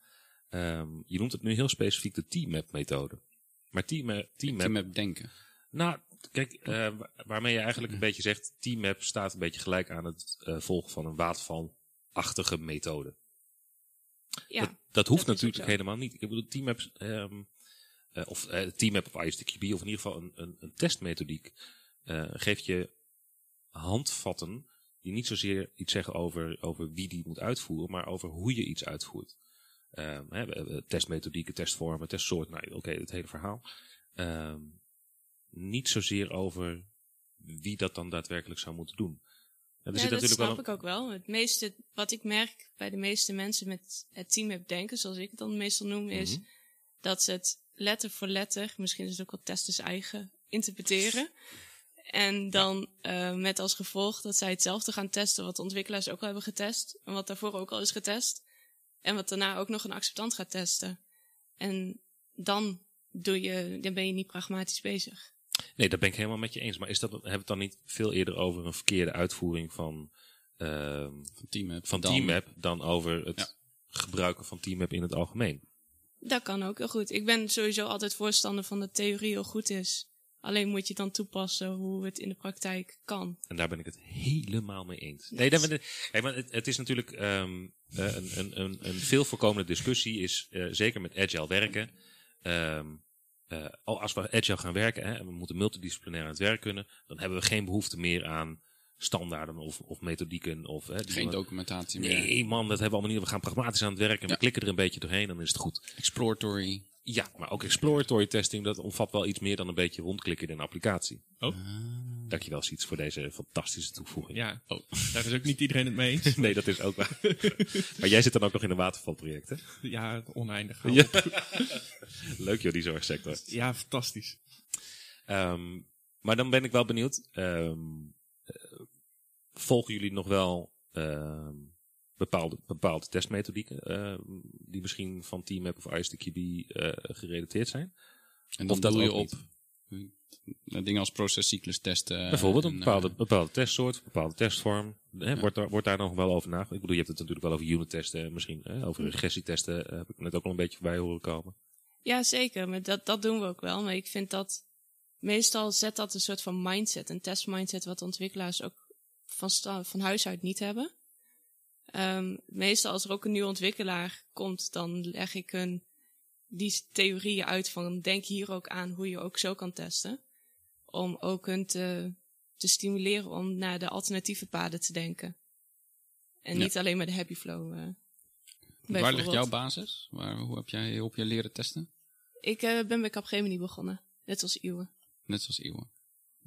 [SPEAKER 1] Ehm, je noemt het nu heel specifiek de T-map-methode. Maar T-map,
[SPEAKER 2] Team
[SPEAKER 1] T-map
[SPEAKER 2] heb denken.
[SPEAKER 1] Nou, kijk, eh, wa- waarmee je eigenlijk een beetje zegt, T-map staat een beetje gelijk aan het eh, volgen van een watervalachtige methode.
[SPEAKER 4] Ja.
[SPEAKER 1] dat, dat hoeft
[SPEAKER 4] dat is ook
[SPEAKER 1] natuurlijk
[SPEAKER 4] zo.
[SPEAKER 1] helemaal niet. Ik bedoel, T-map ehm, eh, of eh T-map of ISTQB of in ieder geval een, een, een testmethodiek eh, geeft je handvatten die niet zozeer iets zeggen over, over wie die moet uitvoeren, maar over hoe je iets uitvoert. Ehm, hè, we hebben testmethodieken, testvormen, testsoorten, nou, oké, het hele verhaal. Ehm, niet zozeer over wie dat dan daadwerkelijk zou moeten doen. En
[SPEAKER 4] Ja, dat snap
[SPEAKER 1] wel een-
[SPEAKER 4] ik ook wel. Het meeste, wat ik merk bij de meeste mensen met het team heb denken, zoals ik het dan meestal noem, is
[SPEAKER 1] Mhm.
[SPEAKER 4] dat ze het letter voor letter, misschien is het ook wel testers eigen, interpreteren. En dan eh, met als gevolg dat zij hetzelfde gaan testen wat de ontwikkelaars ook al hebben getest. En wat daarvoor ook al is getest. En wat daarna ook nog een acceptant gaat testen. En dan, doe je, dan ben je niet pragmatisch bezig.
[SPEAKER 1] Nee, dat ben ik helemaal met je eens. Maar is dat, hebben we het dan niet veel eerder over een verkeerde uitvoering van, ehm
[SPEAKER 2] Van Team
[SPEAKER 1] van Teamap dan over het
[SPEAKER 2] Ja.
[SPEAKER 1] gebruiken van Teamap in het algemeen?
[SPEAKER 4] Dat kan ook heel goed. Ik ben sowieso altijd voorstander van dat theorie heel goed is. Alleen moet je dan toepassen hoe het in de praktijk kan.
[SPEAKER 1] En daar ben ik het helemaal mee eens. Nee, daar ben ik- Kijk, maar het, het is natuurlijk ehm, eh, een, een, een, een veel voorkomende discussie, is eh, zeker met agile werken. Ehm, eh, al als we agile gaan werken, hè, en we moeten multidisciplinair aan het werk kunnen, dan hebben we geen behoefte meer aan standaarden of, of methodieken. Of, hè, die-
[SPEAKER 2] Geen documentatie meer.
[SPEAKER 1] Nee, man, dat hebben we allemaal niet. We gaan pragmatisch aan het werk en we
[SPEAKER 2] Ja.
[SPEAKER 1] klikken er een beetje doorheen, dan is het goed.
[SPEAKER 2] Exploratory.
[SPEAKER 1] Ja, maar ook exploratory testing, dat omvat wel iets meer dan een beetje rondklikken in een applicatie. Ah.
[SPEAKER 3] Oh.
[SPEAKER 1] Dankjewel, Siets, voor deze fantastische toevoeging.
[SPEAKER 3] Ja,
[SPEAKER 2] Oh.
[SPEAKER 3] daar is ook niet iedereen het mee eens.
[SPEAKER 1] Nee, dat is ook waar. maar jij zit dan ook nog in een watervalproject, hè?
[SPEAKER 3] Ja, oneindig.
[SPEAKER 1] Ja. Leuk joh, die zorgsector.
[SPEAKER 3] ja fantastisch.
[SPEAKER 1] Ehm, maar dan ben ik wel benieuwd. ehm, eh, volgen jullie nog wel ehm, bepaalde, bepaalde testmethodieken ehm, die misschien van TeamApp of ISTQB eh gerelateerd zijn?
[SPEAKER 2] En
[SPEAKER 1] Of
[SPEAKER 2] dan
[SPEAKER 1] dat
[SPEAKER 2] doe je
[SPEAKER 1] ook
[SPEAKER 2] op eh, dingen als procescyclus testen. eh,
[SPEAKER 1] Bijvoorbeeld
[SPEAKER 2] en,
[SPEAKER 1] een
[SPEAKER 2] eh,
[SPEAKER 1] bepaalde, bepaalde testsoort, bepaalde testvorm. Hè, wordt, daar, wordt daar nog wel over nagedacht? Ik bedoel, je hebt het natuurlijk wel over unit-testen, misschien hè, over regressietesten. eh, heb ik net ook al een beetje voorbij horen komen.
[SPEAKER 4] Ja, zeker. Maar dat, dat doen we ook wel. Maar ik vind dat meestal zet dat een soort van mindset, een testmindset, wat de ontwikkelaars ook van, sta- van huis uit niet hebben. Ehm, meestal als er ook een nieuwe ontwikkelaar komt, dan leg ik hun die theorieën uit van denk hier ook aan hoe je ook zo kan testen. Om ook hun te, te stimuleren om naar de alternatieve paden te denken. En
[SPEAKER 2] Ja.
[SPEAKER 4] niet alleen maar de happy flow. eh,
[SPEAKER 2] Waar ligt
[SPEAKER 4] bijvoorbeeld.
[SPEAKER 2] jouw basis? Waar, hoe heb jij op je leren testen?
[SPEAKER 4] Ik eh, ben bij Capgemini begonnen, net als Iwe.
[SPEAKER 2] Net zoals Eeuwen.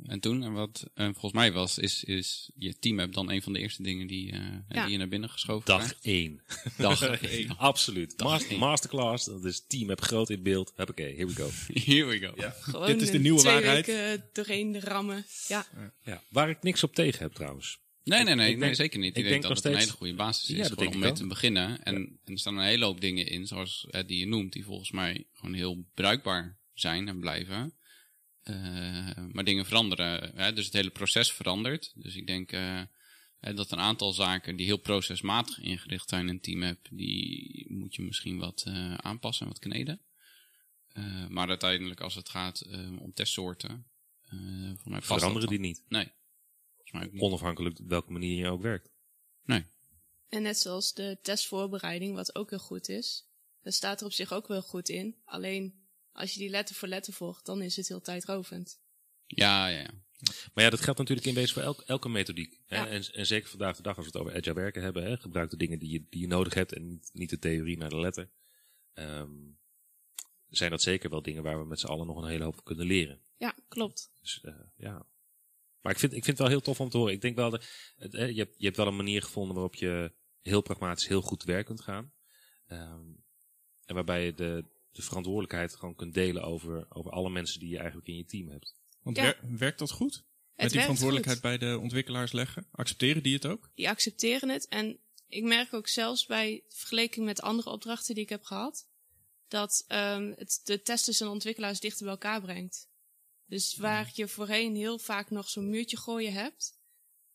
[SPEAKER 2] En toen, en wat eh, volgens mij was, is, is je team hebt dan een van de eerste dingen die, eh,
[SPEAKER 4] Ja.
[SPEAKER 2] die je naar binnen geschoven
[SPEAKER 1] Dag 1.
[SPEAKER 2] krijgt. Dag één.
[SPEAKER 1] Absoluut. Mas-
[SPEAKER 2] één.
[SPEAKER 1] masterclass, dat is team, heb groot in beeld. Huppakee, here we go.
[SPEAKER 2] Here we go.
[SPEAKER 4] Gewoon
[SPEAKER 3] Dit is de
[SPEAKER 4] een
[SPEAKER 3] nieuwe
[SPEAKER 4] twee
[SPEAKER 3] waarheid.
[SPEAKER 4] weken eh, doorheen rammen. Ja,
[SPEAKER 1] Ja, waar ik niks op tegen heb trouwens.
[SPEAKER 2] Nee, nee, nee,
[SPEAKER 1] ik
[SPEAKER 2] nee,
[SPEAKER 1] denk-
[SPEAKER 2] zeker niet. Ik,
[SPEAKER 1] ik denk
[SPEAKER 2] denk dat
[SPEAKER 1] nog
[SPEAKER 2] het een
[SPEAKER 1] steeds-
[SPEAKER 2] hele goede basis is
[SPEAKER 1] Ja, dat
[SPEAKER 2] gewoon
[SPEAKER 1] denk
[SPEAKER 2] om
[SPEAKER 1] ik
[SPEAKER 2] mee
[SPEAKER 1] ook.
[SPEAKER 2] te beginnen. En, en er staan een hele hoop dingen in, zoals eh, die je noemt, die volgens mij gewoon heel bruikbaar zijn en blijven. Eh, maar dingen veranderen. Hè? Dus het hele proces verandert. Dus ik denk eh, eh, dat een aantal zaken die heel procesmatig ingericht zijn in TeamApp, die moet je misschien wat eh, aanpassen en wat kneden. Eh, maar uiteindelijk als het gaat eh, om testsoorten, eh volgens mij past dat
[SPEAKER 1] Veranderen
[SPEAKER 2] dan.
[SPEAKER 1] die niet.
[SPEAKER 2] Volgens mij ook niet.
[SPEAKER 1] Onafhankelijk op welke manier je ook werkt.
[SPEAKER 4] en net zoals de testvoorbereiding, wat ook heel goed is. Daar staat er op zich ook wel goed in. Alleen, als je die letter voor letter volgt, dan is het heel tijdrovend.
[SPEAKER 2] Ja, ja, ja.
[SPEAKER 1] Maar ja, dat geldt natuurlijk in wezen voor elk, elke methodiek. hè.
[SPEAKER 4] Ja.
[SPEAKER 1] En, en zeker vandaag de dag, als we het over agile werken hebben, hè, gebruik de dingen die je, die je nodig hebt en niet, niet de theorie naar de letter. Ehm, zijn dat zeker wel dingen waar we met z'n allen nog een hele hoop kunnen leren.
[SPEAKER 4] Ja, klopt.
[SPEAKER 1] Dus, eh, ja. Maar ik vind, ik vind het wel heel tof om te horen. Ik denk wel, dat het, eh, je, hebt, je hebt wel een manier gevonden waarop je heel pragmatisch heel goed te werk kunt gaan. Ehm, en waarbij je de, de verantwoordelijkheid gewoon kunt delen over, over alle mensen die je eigenlijk in je team hebt.
[SPEAKER 3] Want
[SPEAKER 4] Ja.
[SPEAKER 3] wer- werkt dat goed? Met die
[SPEAKER 4] werkt
[SPEAKER 3] verantwoordelijkheid
[SPEAKER 4] goed.
[SPEAKER 3] bij de ontwikkelaars leggen? Accepteren die het ook?
[SPEAKER 4] Die accepteren het. En ik merk ook zelfs bij vergelijking met andere opdrachten die ik heb gehad, dat ehm, het de testers en ontwikkelaars dichter bij elkaar brengt. Dus waar je voorheen heel vaak nog zo'n muurtje gooien hebt,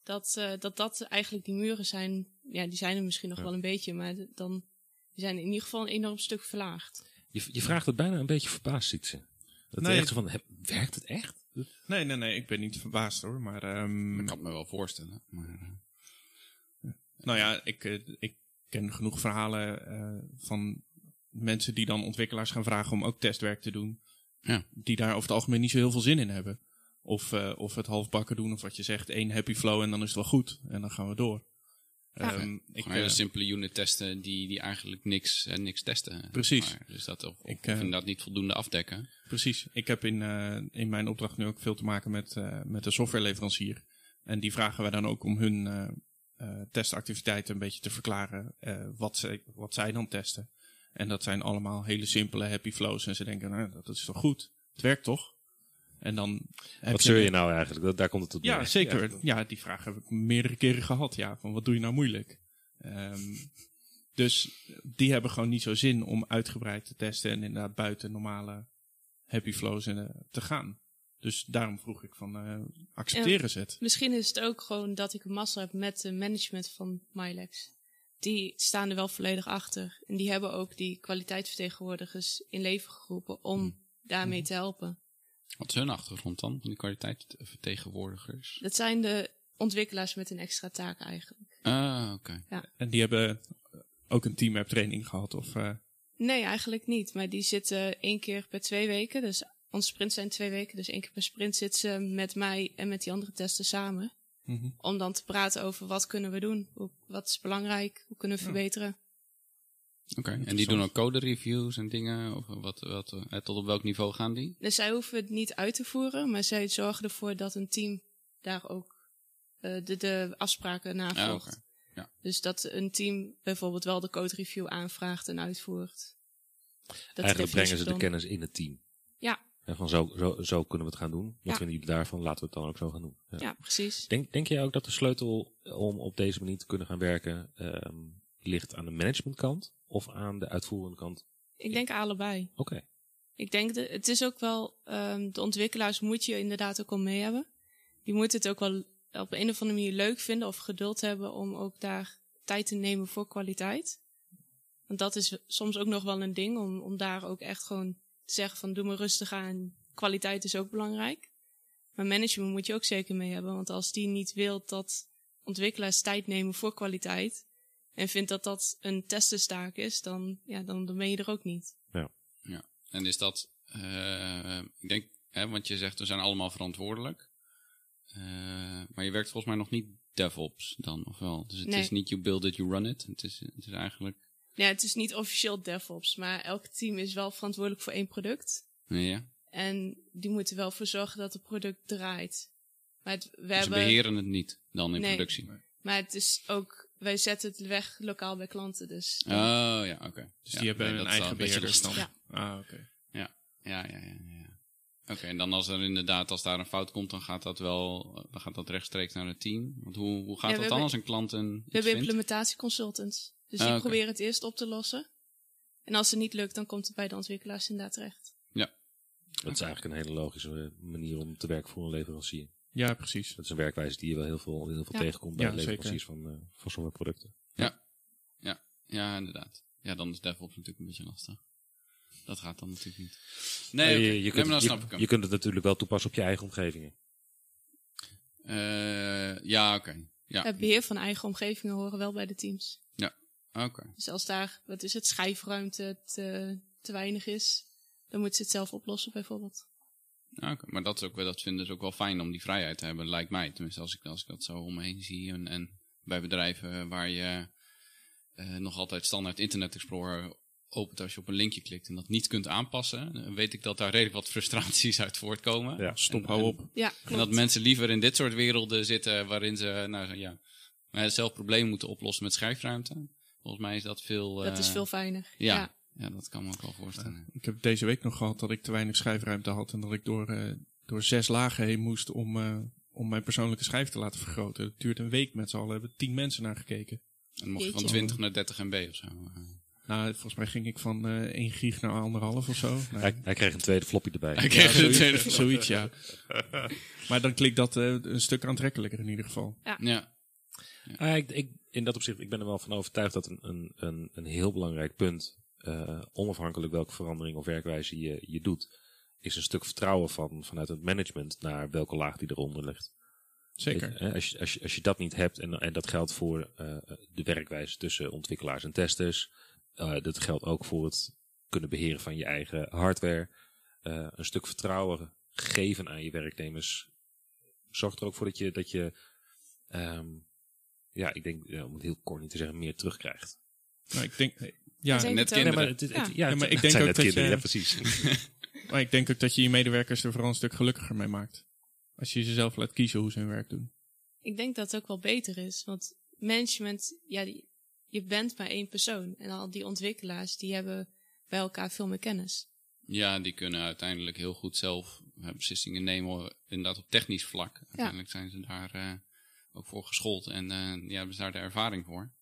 [SPEAKER 4] dat, eh, dat dat eigenlijk die muren zijn. Ja, die zijn er misschien nog
[SPEAKER 1] Ja.
[SPEAKER 4] wel een beetje, maar d- dan die zijn in ieder geval een enorm stuk verlaagd.
[SPEAKER 1] Je, je vraagt het bijna een beetje verbaasd, ziet ze. Dat
[SPEAKER 3] Nee.
[SPEAKER 1] je echt zo van, hè, werkt het echt?
[SPEAKER 3] Nee, nee, nee. Ik ben niet verbaasd hoor. Maar ehm,
[SPEAKER 2] Ik kan het me wel voorstellen. Maar, eh,
[SPEAKER 3] nou ja, ik, eh, ik ken genoeg verhalen eh, van mensen die dan ontwikkelaars gaan vragen om ook testwerk te doen.
[SPEAKER 2] Ja.
[SPEAKER 3] Die daar over het algemeen niet zo heel veel zin in hebben. Of, eh, of het halfbakken doen of wat je zegt. één happy flow en dan is het wel goed. En dan gaan we door.
[SPEAKER 4] Ja.
[SPEAKER 3] Ehm, ik,
[SPEAKER 2] gewoon hele
[SPEAKER 3] eh,
[SPEAKER 2] simpele unit testen die, die eigenlijk niks, en niks testen.
[SPEAKER 3] Precies.
[SPEAKER 2] Maar, dus dat of, of
[SPEAKER 3] Ik, eh,
[SPEAKER 2] inderdaad niet voldoende afdekken.
[SPEAKER 3] Precies. Ik heb in, eh, in mijn opdracht nu ook veel te maken met, eh, met de softwareleverancier. En die vragen wij dan ook om hun eh, eh, testactiviteiten een beetje te verklaren eh, wat, ze, wat zij dan testen. En dat zijn allemaal hele simpele happy flows. En ze denken, nou, dat is toch goed? Het werkt toch? En dan heb
[SPEAKER 1] Wat zeur je nou eigenlijk? Dat, daar komt het op
[SPEAKER 3] Ja,
[SPEAKER 1] neer.
[SPEAKER 3] zeker. Ja, die vraag heb ik meerdere keren gehad. Ja, van wat doe je nou moeilijk? Ehm, dus die hebben gewoon niet zo zin om uitgebreid te testen en inderdaad buiten normale happy flows en, eh, te gaan. Dus daarom vroeg ik van, eh, accepteren ze het?
[SPEAKER 4] Misschien is het ook gewoon dat ik een massa heb met het management van Mylex. Die staan er wel volledig achter. En die hebben ook die kwaliteitsvertegenwoordigers in leven geroepen om daarmee te helpen.
[SPEAKER 2] Wat is hun achtergrond dan? Van die kwaliteitsvertegenwoordigers?
[SPEAKER 4] Dat zijn de ontwikkelaars met een extra taak eigenlijk.
[SPEAKER 2] Ah, oké.
[SPEAKER 3] En die hebben ook een team app training gehad of... eh,
[SPEAKER 4] Nee, eigenlijk niet. Maar die zitten één keer per twee weken. Dus onze sprints zijn twee weken. Dus één keer per sprint zitten ze met mij en met die andere testen samen. Om dan te praten over wat kunnen we doen. Hoe, wat is belangrijk? Hoe kunnen we verbeteren?
[SPEAKER 2] Oké. En die doen ook code reviews en dingen? Of wat, wat, eh, tot op welk niveau gaan die?
[SPEAKER 4] Dus zij hoeven het niet uit te voeren, maar zij zorgen ervoor dat een team daar ook eh, de, de afspraken
[SPEAKER 2] Ah,
[SPEAKER 4] navolgt.
[SPEAKER 2] oké. Ja.
[SPEAKER 4] Dus dat een team bijvoorbeeld wel de code review aanvraagt en uitvoert. Dat
[SPEAKER 1] eigenlijk brengen ze de
[SPEAKER 4] definitie
[SPEAKER 1] kennis in het team.
[SPEAKER 4] Ja.
[SPEAKER 1] En van zo, zo, zo kunnen we het gaan doen. Wat
[SPEAKER 4] Ja.
[SPEAKER 1] vinden jullie daarvan? Laten we het dan ook zo gaan doen. Ja.
[SPEAKER 4] dan- Ja, precies.
[SPEAKER 1] Denk, denk jij ook dat de sleutel om op deze manier te kunnen gaan werken ehm, ligt aan de managementkant of aan de uitvoerende kant?
[SPEAKER 4] Ik denk allebei.
[SPEAKER 1] Oké.
[SPEAKER 4] Ik denk, de, het is ook wel, ehm, de ontwikkelaars moet je inderdaad ook al mee hebben. Je moet het ook wel op een of andere manier leuk vinden of geduld hebben om ook daar tijd te nemen voor kwaliteit. Want dat is soms ook nog wel een ding, om, om daar ook echt gewoon te zeggen van doe me rustig aan, kwaliteit is ook belangrijk. Maar management moet je ook zeker mee hebben, want als die niet wil dat ontwikkelaars tijd nemen voor kwaliteit en vindt dat dat een testenstaak is, dan, ja, dan, dan ben je er ook niet.
[SPEAKER 2] En is dat, eh, ik denk, hè, want je zegt we zijn allemaal verantwoordelijk. Eh, maar je werkt volgens mij nog niet DevOps dan, of wel? Dus het
[SPEAKER 4] Nee.
[SPEAKER 2] is niet you build it, you run it. Het is, het is eigenlijk,
[SPEAKER 4] Ja, het is niet officieel DevOps, maar elk team is wel verantwoordelijk voor één product.
[SPEAKER 2] nee, ja. dus
[SPEAKER 4] En die moeten wel voor zorgen dat het product draait. Maar het, we
[SPEAKER 2] Ze
[SPEAKER 4] hebben,
[SPEAKER 2] beheren Dus het niet dan in
[SPEAKER 4] Nee.
[SPEAKER 2] productie.
[SPEAKER 4] maar het is ook, wij zetten het weg lokaal bij klanten. Dus
[SPEAKER 2] Oh, ja, oké.
[SPEAKER 3] dus
[SPEAKER 2] Ja,
[SPEAKER 3] die hebben
[SPEAKER 2] nee,
[SPEAKER 3] een
[SPEAKER 2] dat is wel
[SPEAKER 3] eigen
[SPEAKER 2] beetje
[SPEAKER 3] beheerder dan.
[SPEAKER 2] lastig.
[SPEAKER 3] Ah, oké.
[SPEAKER 2] Ja, ja, ja. ja. Oké, en dan als er inderdaad, als daar een fout komt, dan gaat dat wel, dan gaat dat rechtstreeks naar het team. Want hoe, hoe gaat
[SPEAKER 4] Ja, we
[SPEAKER 2] dat dan
[SPEAKER 4] hebben-
[SPEAKER 2] als een klant een
[SPEAKER 4] we
[SPEAKER 2] iets
[SPEAKER 4] hebben
[SPEAKER 2] vindt?
[SPEAKER 4] implementatieconsultants. Dus
[SPEAKER 2] Ah,
[SPEAKER 4] die
[SPEAKER 2] oké.
[SPEAKER 4] proberen het eerst op te lossen. En als het niet lukt, dan komt het bij de ontwikkelaars inderdaad terecht.
[SPEAKER 1] Dat is eigenlijk een hele logische eh, manier om te werken voor een leverancier.
[SPEAKER 3] Ja, precies.
[SPEAKER 1] Dat is een werkwijze die je wel heel veel, heel veel
[SPEAKER 4] Ja.
[SPEAKER 1] tegenkomt bij
[SPEAKER 3] Ja,
[SPEAKER 1] de leveranciers van, eh van sommige producten.
[SPEAKER 2] Ja, inderdaad. Ja, dan is DevOps natuurlijk een beetje lastig. Dat gaat dan natuurlijk niet.
[SPEAKER 1] Maar
[SPEAKER 2] Nee,
[SPEAKER 1] Ah, je-
[SPEAKER 2] oké.
[SPEAKER 1] je,
[SPEAKER 2] Nee,
[SPEAKER 1] kunt,
[SPEAKER 2] maar dan
[SPEAKER 1] het- je-
[SPEAKER 2] snap ik hem.
[SPEAKER 1] je kunt het natuurlijk wel toepassen op je eigen omgevingen.
[SPEAKER 2] Eh, ja, oké. Ja,
[SPEAKER 4] Het
[SPEAKER 2] oké.
[SPEAKER 4] beheer van eigen omgevingen horen wel bij de teams.
[SPEAKER 2] Oké.
[SPEAKER 4] Dus als daar, wat is het, schijfruimte te, te weinig is, dan moeten ze het zelf oplossen bijvoorbeeld.
[SPEAKER 2] Maar dat, is ook, wel- dat vinden ze ook wel fijn om die vrijheid te hebben, lijkt mij. Tenminste, als ik, als ik dat zo om me heen zie. En, en bij bedrijven waar je eh, nog altijd standaard Internet Explorer opent als je op een linkje klikt en dat niet kunt aanpassen, eh, weet ik dat daar redelijk wat frustraties uit voortkomen.
[SPEAKER 1] Ja,
[SPEAKER 3] Stop,
[SPEAKER 2] En-
[SPEAKER 3] hou
[SPEAKER 2] en-
[SPEAKER 3] op.
[SPEAKER 4] Ja, klopt.
[SPEAKER 2] En dat mensen liever in dit soort werelden zitten waarin ze nou, ja, eh, zelf problemen moeten oplossen met schijfruimte. Volgens mij is dat veel.
[SPEAKER 4] Dat is
[SPEAKER 2] eh,
[SPEAKER 4] veel fijner.
[SPEAKER 2] Ja,
[SPEAKER 4] Ja.
[SPEAKER 2] ja. dat kan me ook wel voorstellen.
[SPEAKER 3] Ik heb deze week nog gehad dat ik te weinig schijfruimte had en dat ik door, eh, door zes lagen heen moest om, eh, om mijn persoonlijke schijf te laten vergroten. Het duurt een week met z'n allen, hebben tien mensen naar gekeken.
[SPEAKER 2] En dan mocht je van
[SPEAKER 4] Jeetje.
[SPEAKER 2] 20 naar 30 MB of zo. eh.
[SPEAKER 3] Nou, volgens mij ging ik van eh 1 gig naar anderhalf of zo. Nou,
[SPEAKER 1] Hij, hij kreeg een tweede floppy erbij.
[SPEAKER 2] Hij kreeg de
[SPEAKER 3] zoiets,
[SPEAKER 2] tweede vlag.
[SPEAKER 3] zoiets, ja. Maar dan klinkt dat eh, een stuk aantrekkelijker in ieder geval.
[SPEAKER 2] Ja,
[SPEAKER 1] Ah, ik, ik, in dat opzicht, ik ben er wel van overtuigd dat een, een, een, een heel belangrijk punt, eh, onafhankelijk welke verandering of werkwijze je, je doet, is een stuk vertrouwen van, vanuit het management naar welke laag die eronder ligt.
[SPEAKER 3] Zeker.
[SPEAKER 1] Weet je, hè, als, je, als, je, als je dat niet hebt, en, en dat geldt voor eh, de werkwijze tussen ontwikkelaars en testers, eh, dat geldt ook voor het kunnen beheren van je eigen hardware, eh, een stuk vertrouwen geven aan je werknemers, zorgt er ook voor dat je, dat je ehm, ja, ik denk, ja, om het heel kort niet te zeggen, meer terugkrijgt.
[SPEAKER 3] Nou, ik denk, ja,
[SPEAKER 4] Zeker.
[SPEAKER 2] net
[SPEAKER 4] Nee,
[SPEAKER 1] Nee,
[SPEAKER 2] kinderen.
[SPEAKER 1] maar, het, het- het- ja,
[SPEAKER 3] Ja, maar
[SPEAKER 1] ik denk ook dat kinderen, je... ja, precies.
[SPEAKER 3] maar ik denk ook dat je je medewerkers er vooral een stuk gelukkiger mee maakt. Als je ze zelf laat kiezen hoe ze hun werk doen.
[SPEAKER 4] Ik denk dat het ook wel beter is. Want management, ja, die, je bent maar één persoon. En al die ontwikkelaars, die hebben bij elkaar veel meer kennis.
[SPEAKER 2] Ja, die kunnen uiteindelijk heel goed zelf eh, beslissingen nemen, inderdaad op technisch vlak. Uiteindelijk zijn ze daar eh, ook voor geschoold en eh, ja, hebben ze daar de ervaring voor.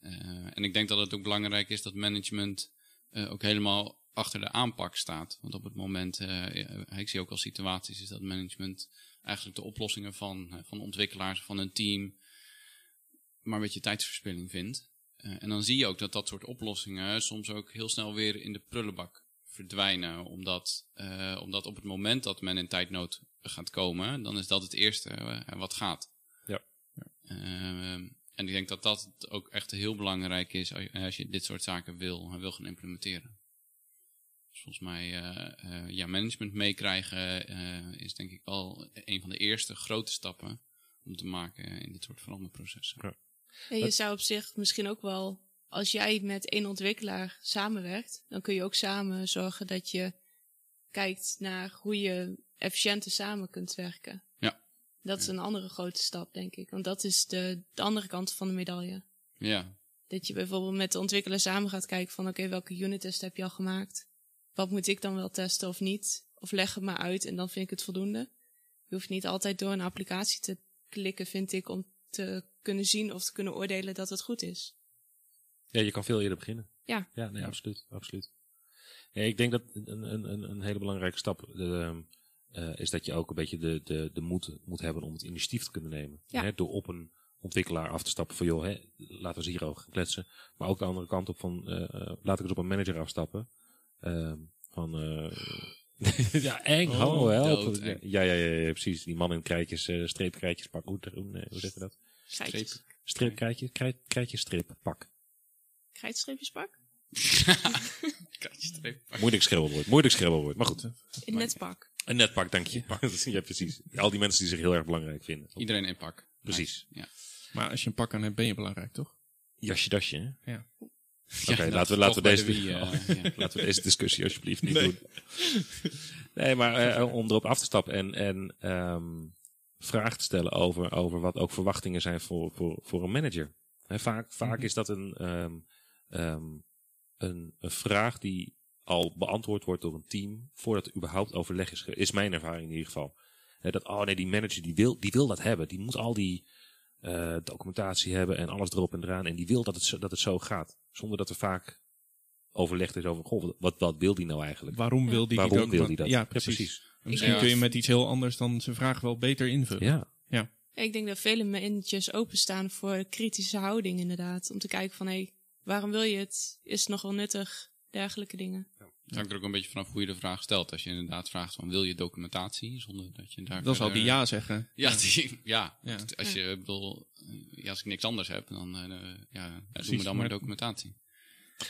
[SPEAKER 2] Eh, en ik denk dat het ook belangrijk is dat management eh, ook helemaal achter de aanpak staat. Want op het moment, eh, ja, ik zie ook al situaties, is dat management eigenlijk de oplossingen van, eh, van ontwikkelaars, van een team, maar een beetje tijdsverspilling vindt. Eh, en dan zie je ook dat dat soort oplossingen soms ook heel snel weer in de prullenbak verdwijnen. Omdat, eh, omdat op het moment dat men in tijdnood gaat komen, dan is dat het eerste eh, wat gaat.
[SPEAKER 1] Ja.
[SPEAKER 2] Ehm, en ik denk dat dat ook echt heel belangrijk is als je, als je dit soort zaken wil, eh, wil gaan implementeren. Dus volgens mij, eh, eh, ja, management meekrijgen eh, is denk ik wel een van de eerste grote stappen om te maken in dit soort veranderprocessen.
[SPEAKER 4] Ja, je zou op zich misschien ook wel, als jij met één ontwikkelaar samenwerkt, dan kun je ook samen zorgen dat je kijkt naar hoe je efficiënter samen kunt werken.
[SPEAKER 2] Ja.
[SPEAKER 4] Dat is een andere grote stap, denk ik. Want dat is de, de andere kant van de medaille.
[SPEAKER 2] Ja,
[SPEAKER 4] Dat je bijvoorbeeld met de ontwikkelaar samen gaat kijken van oké, welke unit test heb je al gemaakt? Wat moet ik dan wel testen of niet? Of leg het maar uit en dan vind ik het voldoende. Je hoeft niet altijd door een applicatie te klikken, vind ik, om te kunnen zien of te kunnen oordelen dat het goed is.
[SPEAKER 1] Ja, je kan veel eerder beginnen.
[SPEAKER 4] Ja.
[SPEAKER 1] Ja, nee, absoluut. absoluut. Ja, ik denk dat een, een, een, een hele belangrijke stap eh, eh, is dat je ook een beetje de, de, de moed moet hebben om het initiatief te kunnen nemen.
[SPEAKER 4] Ja.
[SPEAKER 1] Hè, door op een ontwikkelaar af te stappen van joh, hè, laten we ze hier ook gaan kletsen. Maar ook de andere kant op van eh, eh, laat ik eens op een manager afstappen. Ehm, van eh, ja, eng,
[SPEAKER 2] Oh,
[SPEAKER 1] hallo, help.
[SPEAKER 2] doodeng.
[SPEAKER 1] Ja, ja, ja, ja, precies. Die man in krijtjes, eh streepkrijtjes, pak. Hoe, hoe, hoe zeg je dat?
[SPEAKER 4] Krijtjes-
[SPEAKER 1] Streepkrijtje, krijt, krijtjes, strip, pak.
[SPEAKER 4] Krijtstreepjespak?
[SPEAKER 2] Krijtstreep.
[SPEAKER 1] Moeilijk schreeuwwoord, moeilijk schreeuwwoord. Maar goed.
[SPEAKER 4] In netpak.
[SPEAKER 1] Een netpak, dank je. ja, precies. Al die mensen die zich heel erg belangrijk vinden.
[SPEAKER 2] Iedereen in pak.
[SPEAKER 1] Precies.
[SPEAKER 2] Ja.
[SPEAKER 3] Maar als je een pak aan hebt, ben je belangrijk, toch?
[SPEAKER 1] Jasje, dasje. hè?
[SPEAKER 2] Ja,
[SPEAKER 1] Oké, laten we,
[SPEAKER 2] dat is
[SPEAKER 1] laten, we deze,
[SPEAKER 2] toch
[SPEAKER 1] oh.
[SPEAKER 2] bij de Wii, eh, ja.
[SPEAKER 1] laten we deze discussie alsjeblieft niet doen. Nee, maar eh, om erop af te stappen en, en ehm, vragen te stellen over, over wat ook verwachtingen zijn voor, voor, voor een manager. Hè, vaak vaak is dat een, ehm, ehm, een, een vraag die al beantwoord wordt door een team voordat er überhaupt overleg is. ge- Is mijn ervaring in ieder geval. Hè, dat, oh nee, die manager die wil, die wil dat hebben. Die moet al die eh, documentatie hebben en alles erop en eraan. En die wil dat het, zo- dat het zo gaat. Zonder dat er vaak overlegd is over, goh, wat, wat wil die nou eigenlijk?
[SPEAKER 3] Waarom wil die
[SPEAKER 1] Waarom
[SPEAKER 3] die docu-
[SPEAKER 1] wil die dat?
[SPEAKER 3] Ja,
[SPEAKER 1] Ja,
[SPEAKER 3] precies.
[SPEAKER 1] precies.
[SPEAKER 3] En Misschien
[SPEAKER 2] Ja.
[SPEAKER 3] kun je met iets heel anders dan zijn vraag wel beter invullen.
[SPEAKER 1] Ja.
[SPEAKER 4] Ik denk dat vele managers openstaan voor kritische houding inderdaad. Om te kijken van, hé, waarom wil je het? Is het nog wel nuttig? Dergelijke dingen.
[SPEAKER 2] Het hangt er ook een beetje vanaf hoe je de vraag stelt. Als je inderdaad vraagt van wil je documentatie, zonder dat je daar...
[SPEAKER 3] Dan zal
[SPEAKER 2] verder-
[SPEAKER 3] die ja zeggen.
[SPEAKER 2] Ja, die, ja.
[SPEAKER 3] Ja.
[SPEAKER 2] als je ik bedoel, ja, als ik niks anders heb, dan eh, ja,
[SPEAKER 3] Precies,
[SPEAKER 2] doen we dan maar
[SPEAKER 3] maar-
[SPEAKER 2] documentatie.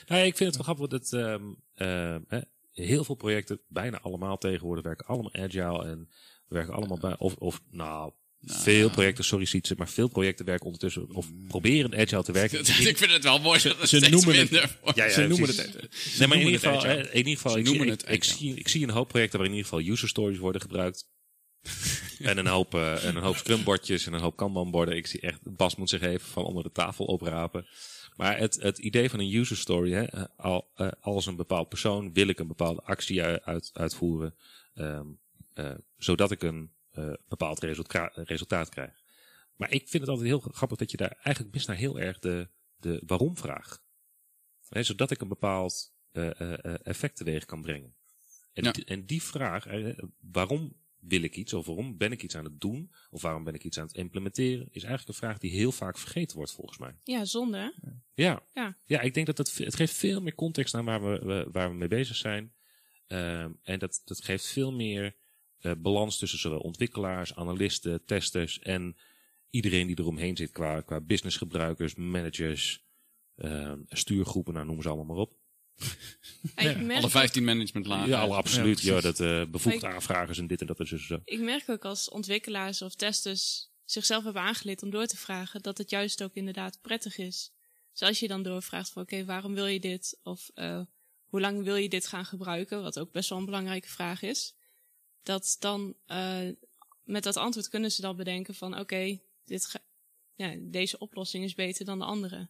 [SPEAKER 1] Nou, ja, ik vind het wel grappig dat ehm, ehm, hè, heel veel projecten, bijna allemaal tegenwoordig, werken allemaal agile en werken allemaal bij. Of, of nou,
[SPEAKER 2] Nou,
[SPEAKER 1] veel
[SPEAKER 2] ja.
[SPEAKER 1] projecten, sorry Sietse, maar veel projecten werken ondertussen of proberen agile te werken.
[SPEAKER 2] ik vind het wel mooi dat het
[SPEAKER 3] Ze
[SPEAKER 2] steeds
[SPEAKER 3] noemen het-
[SPEAKER 2] minder wordt.
[SPEAKER 1] Ja, ja,
[SPEAKER 3] ze noemen
[SPEAKER 1] precies.
[SPEAKER 3] het.
[SPEAKER 1] Nee, maar in ieder
[SPEAKER 3] noemen het
[SPEAKER 1] geval, hè, in ieder geval
[SPEAKER 2] Ze
[SPEAKER 1] ik, zie,
[SPEAKER 2] noemen
[SPEAKER 1] ik,
[SPEAKER 2] het
[SPEAKER 1] ik
[SPEAKER 2] agile.
[SPEAKER 1] zie, ik zie een hoop projecten waar in ieder geval user stories worden gebruikt. en een hoop, eh, en een hoop scrumbordjes en een hoop kanbanborden. Ik zie echt, Bas moet zich even van onder de tafel oprapen. Maar het, het idee van een user story, hè, eh, al, eh, als een bepaald persoon wil ik een bepaalde actie u- uit, uitvoeren, ehm, eh, zodat ik een eh, bepaald resulta- resultaat krijg. Maar ik vind het altijd heel grappig dat je daar eigenlijk mis naar heel erg de, de waarom vraagt. Hè, zodat ik een bepaald eh, eh, eh, effect teweeg kan brengen. En,
[SPEAKER 2] Ja.
[SPEAKER 1] die, en die vraag, eh, waarom wil ik iets, of waarom ben ik iets aan het doen, of waarom ben ik iets aan het implementeren, is eigenlijk een vraag die heel vaak vergeten wordt volgens mij.
[SPEAKER 4] Ja, zonde hè?
[SPEAKER 1] Ja,
[SPEAKER 4] Ja.
[SPEAKER 1] ja ik denk dat het, het geeft veel meer context aan waar we, we- waar we mee bezig zijn. Ehm, en dat, dat geeft veel meer eh, balans tussen zowel ontwikkelaars, analisten, testers en iedereen die eromheen zit qua, qua businessgebruikers, managers, ehm, stuurgroepen, nou, noem ze allemaal maar op.
[SPEAKER 4] En ik, merk,
[SPEAKER 2] Alle 15 managementlagen.
[SPEAKER 1] Ja, alle absoluut.
[SPEAKER 3] Ja,
[SPEAKER 1] Ja,
[SPEAKER 3] precies.
[SPEAKER 1] dat eh bevoegd
[SPEAKER 4] Maar
[SPEAKER 1] aanvragers en dit en dat en zo. zo.
[SPEAKER 4] ik merk ook als ontwikkelaars of testers zichzelf hebben aangeleerd om door te vragen, dat het juist ook inderdaad prettig is. Dus als je dan doorvraagt van oké, waarom wil je dit? Of eh, hoe lang wil je dit gaan gebruiken? Wat ook best wel een belangrijke vraag is. Dat dan eh, met dat antwoord kunnen ze dan bedenken van oké, dit ga- ja, deze oplossing is beter dan de andere.
[SPEAKER 2] Een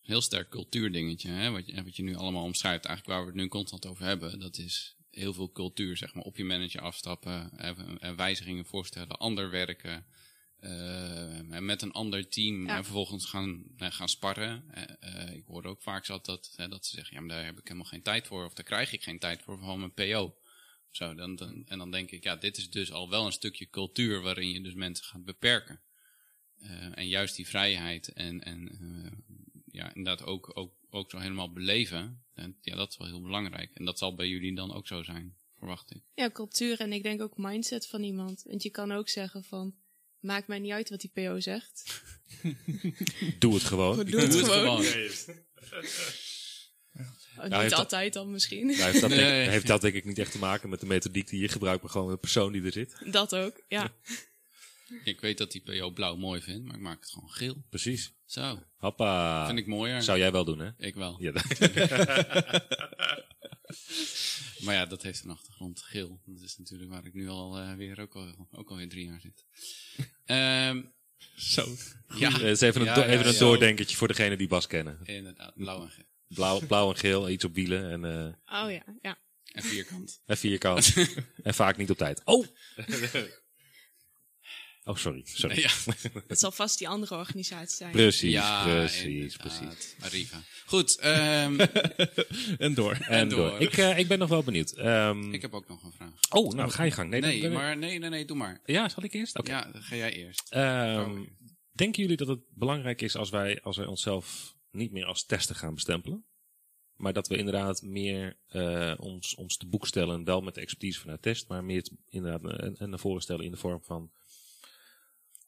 [SPEAKER 2] heel sterk cultuurdingetje, hè? Wat, je, wat je nu allemaal omschrijft. Eigenlijk waar we het nu constant over hebben, dat is heel veel cultuur, zeg maar, op je manager afstappen, eh, eh, wijzigingen voorstellen, ander werken, eh, en met een ander team
[SPEAKER 4] Ja.
[SPEAKER 2] en vervolgens gaan, eh, gaan sparren. Eh, eh, ik hoor ook vaak zat dat, eh, dat ze zeggen, ja, maar daar heb ik helemaal geen tijd voor, of daar krijg ik geen tijd voor, vooral mijn PO. Of Zo, dan, dan, en dan denk ik, ja, dit is dus al wel een stukje cultuur waarin je dus mensen gaat beperken. Eh, en juist die vrijheid en, en eh, ja, inderdaad ook, ook, ook zo helemaal beleven. En, ja, dat is wel heel belangrijk. En dat zal bij jullie dan ook zo zijn, verwacht ik.
[SPEAKER 4] Ja, cultuur en ik denk ook mindset van iemand. Want je kan ook zeggen van, maakt mij niet uit wat die PO zegt.
[SPEAKER 1] Doe het gewoon.
[SPEAKER 4] Doe het gewoon. Oh,
[SPEAKER 1] heeft
[SPEAKER 4] niet
[SPEAKER 1] dat-
[SPEAKER 4] altijd dan misschien.
[SPEAKER 1] Nou, heeft, dat denk,
[SPEAKER 2] Nee.
[SPEAKER 1] heeft dat denk ik niet echt te maken met de methodiek die je gebruikt, maar gewoon met de persoon die er zit.
[SPEAKER 4] Dat ook, ja.
[SPEAKER 2] Ik weet dat die PO blauw mooi vindt, maar ik maak het gewoon geel.
[SPEAKER 1] Precies.
[SPEAKER 2] Zo,
[SPEAKER 1] Hoppa.
[SPEAKER 2] vind ik mooier.
[SPEAKER 1] Zou jij wel doen, hè?
[SPEAKER 2] Ik wel.
[SPEAKER 1] Ja, dat-
[SPEAKER 2] Maar ja, dat heeft een achtergrond geel. Dat is natuurlijk waar ik nu al eh, weer ook, al, ook alweer drie jaar zit. Ehm,
[SPEAKER 3] Zo.
[SPEAKER 2] ja,
[SPEAKER 1] Eh, is even een,
[SPEAKER 2] Ja,
[SPEAKER 1] do-
[SPEAKER 2] ja,
[SPEAKER 1] even een
[SPEAKER 2] ja.
[SPEAKER 1] doordenkertje voor degene die Bas kennen.
[SPEAKER 2] inderdaad, blauw en geel.
[SPEAKER 1] Blauw, blauw en geel, iets op wielen en, eh,
[SPEAKER 4] Oh ja, ja.
[SPEAKER 2] En vierkant.
[SPEAKER 1] en vierkant. en vaak niet op tijd. Oh! oh, sorry. sorry.
[SPEAKER 2] Ja,
[SPEAKER 4] Dat zal vast die andere organisatie zijn.
[SPEAKER 1] Precies,
[SPEAKER 2] ja
[SPEAKER 1] precies,
[SPEAKER 2] inderdaad.
[SPEAKER 1] precies.
[SPEAKER 2] Arriva. Goed, ehm,
[SPEAKER 3] En door.
[SPEAKER 1] En door.
[SPEAKER 2] door.
[SPEAKER 1] Ik, eh, ik ben nog wel benieuwd. Ehm,
[SPEAKER 2] ik heb ook nog een vraag.
[SPEAKER 1] Oh, nou ga je gang. Nee, dan-
[SPEAKER 2] Nee,
[SPEAKER 1] dan-
[SPEAKER 2] maar nee, nee, nee, doe maar.
[SPEAKER 1] Ja, zal ik eerst? Oké.
[SPEAKER 2] Ja, dan ga jij eerst.
[SPEAKER 1] Ehm,
[SPEAKER 2] Oh.
[SPEAKER 1] denken jullie dat het belangrijk is als wij, als wij onszelf niet meer als tester gaan bestempelen? Maar dat we inderdaad meer eh, ons, ons te boek stellen, wel met de expertise vanuit test, maar meer te- inderdaad eh, en, en naar voren stellen in de vorm van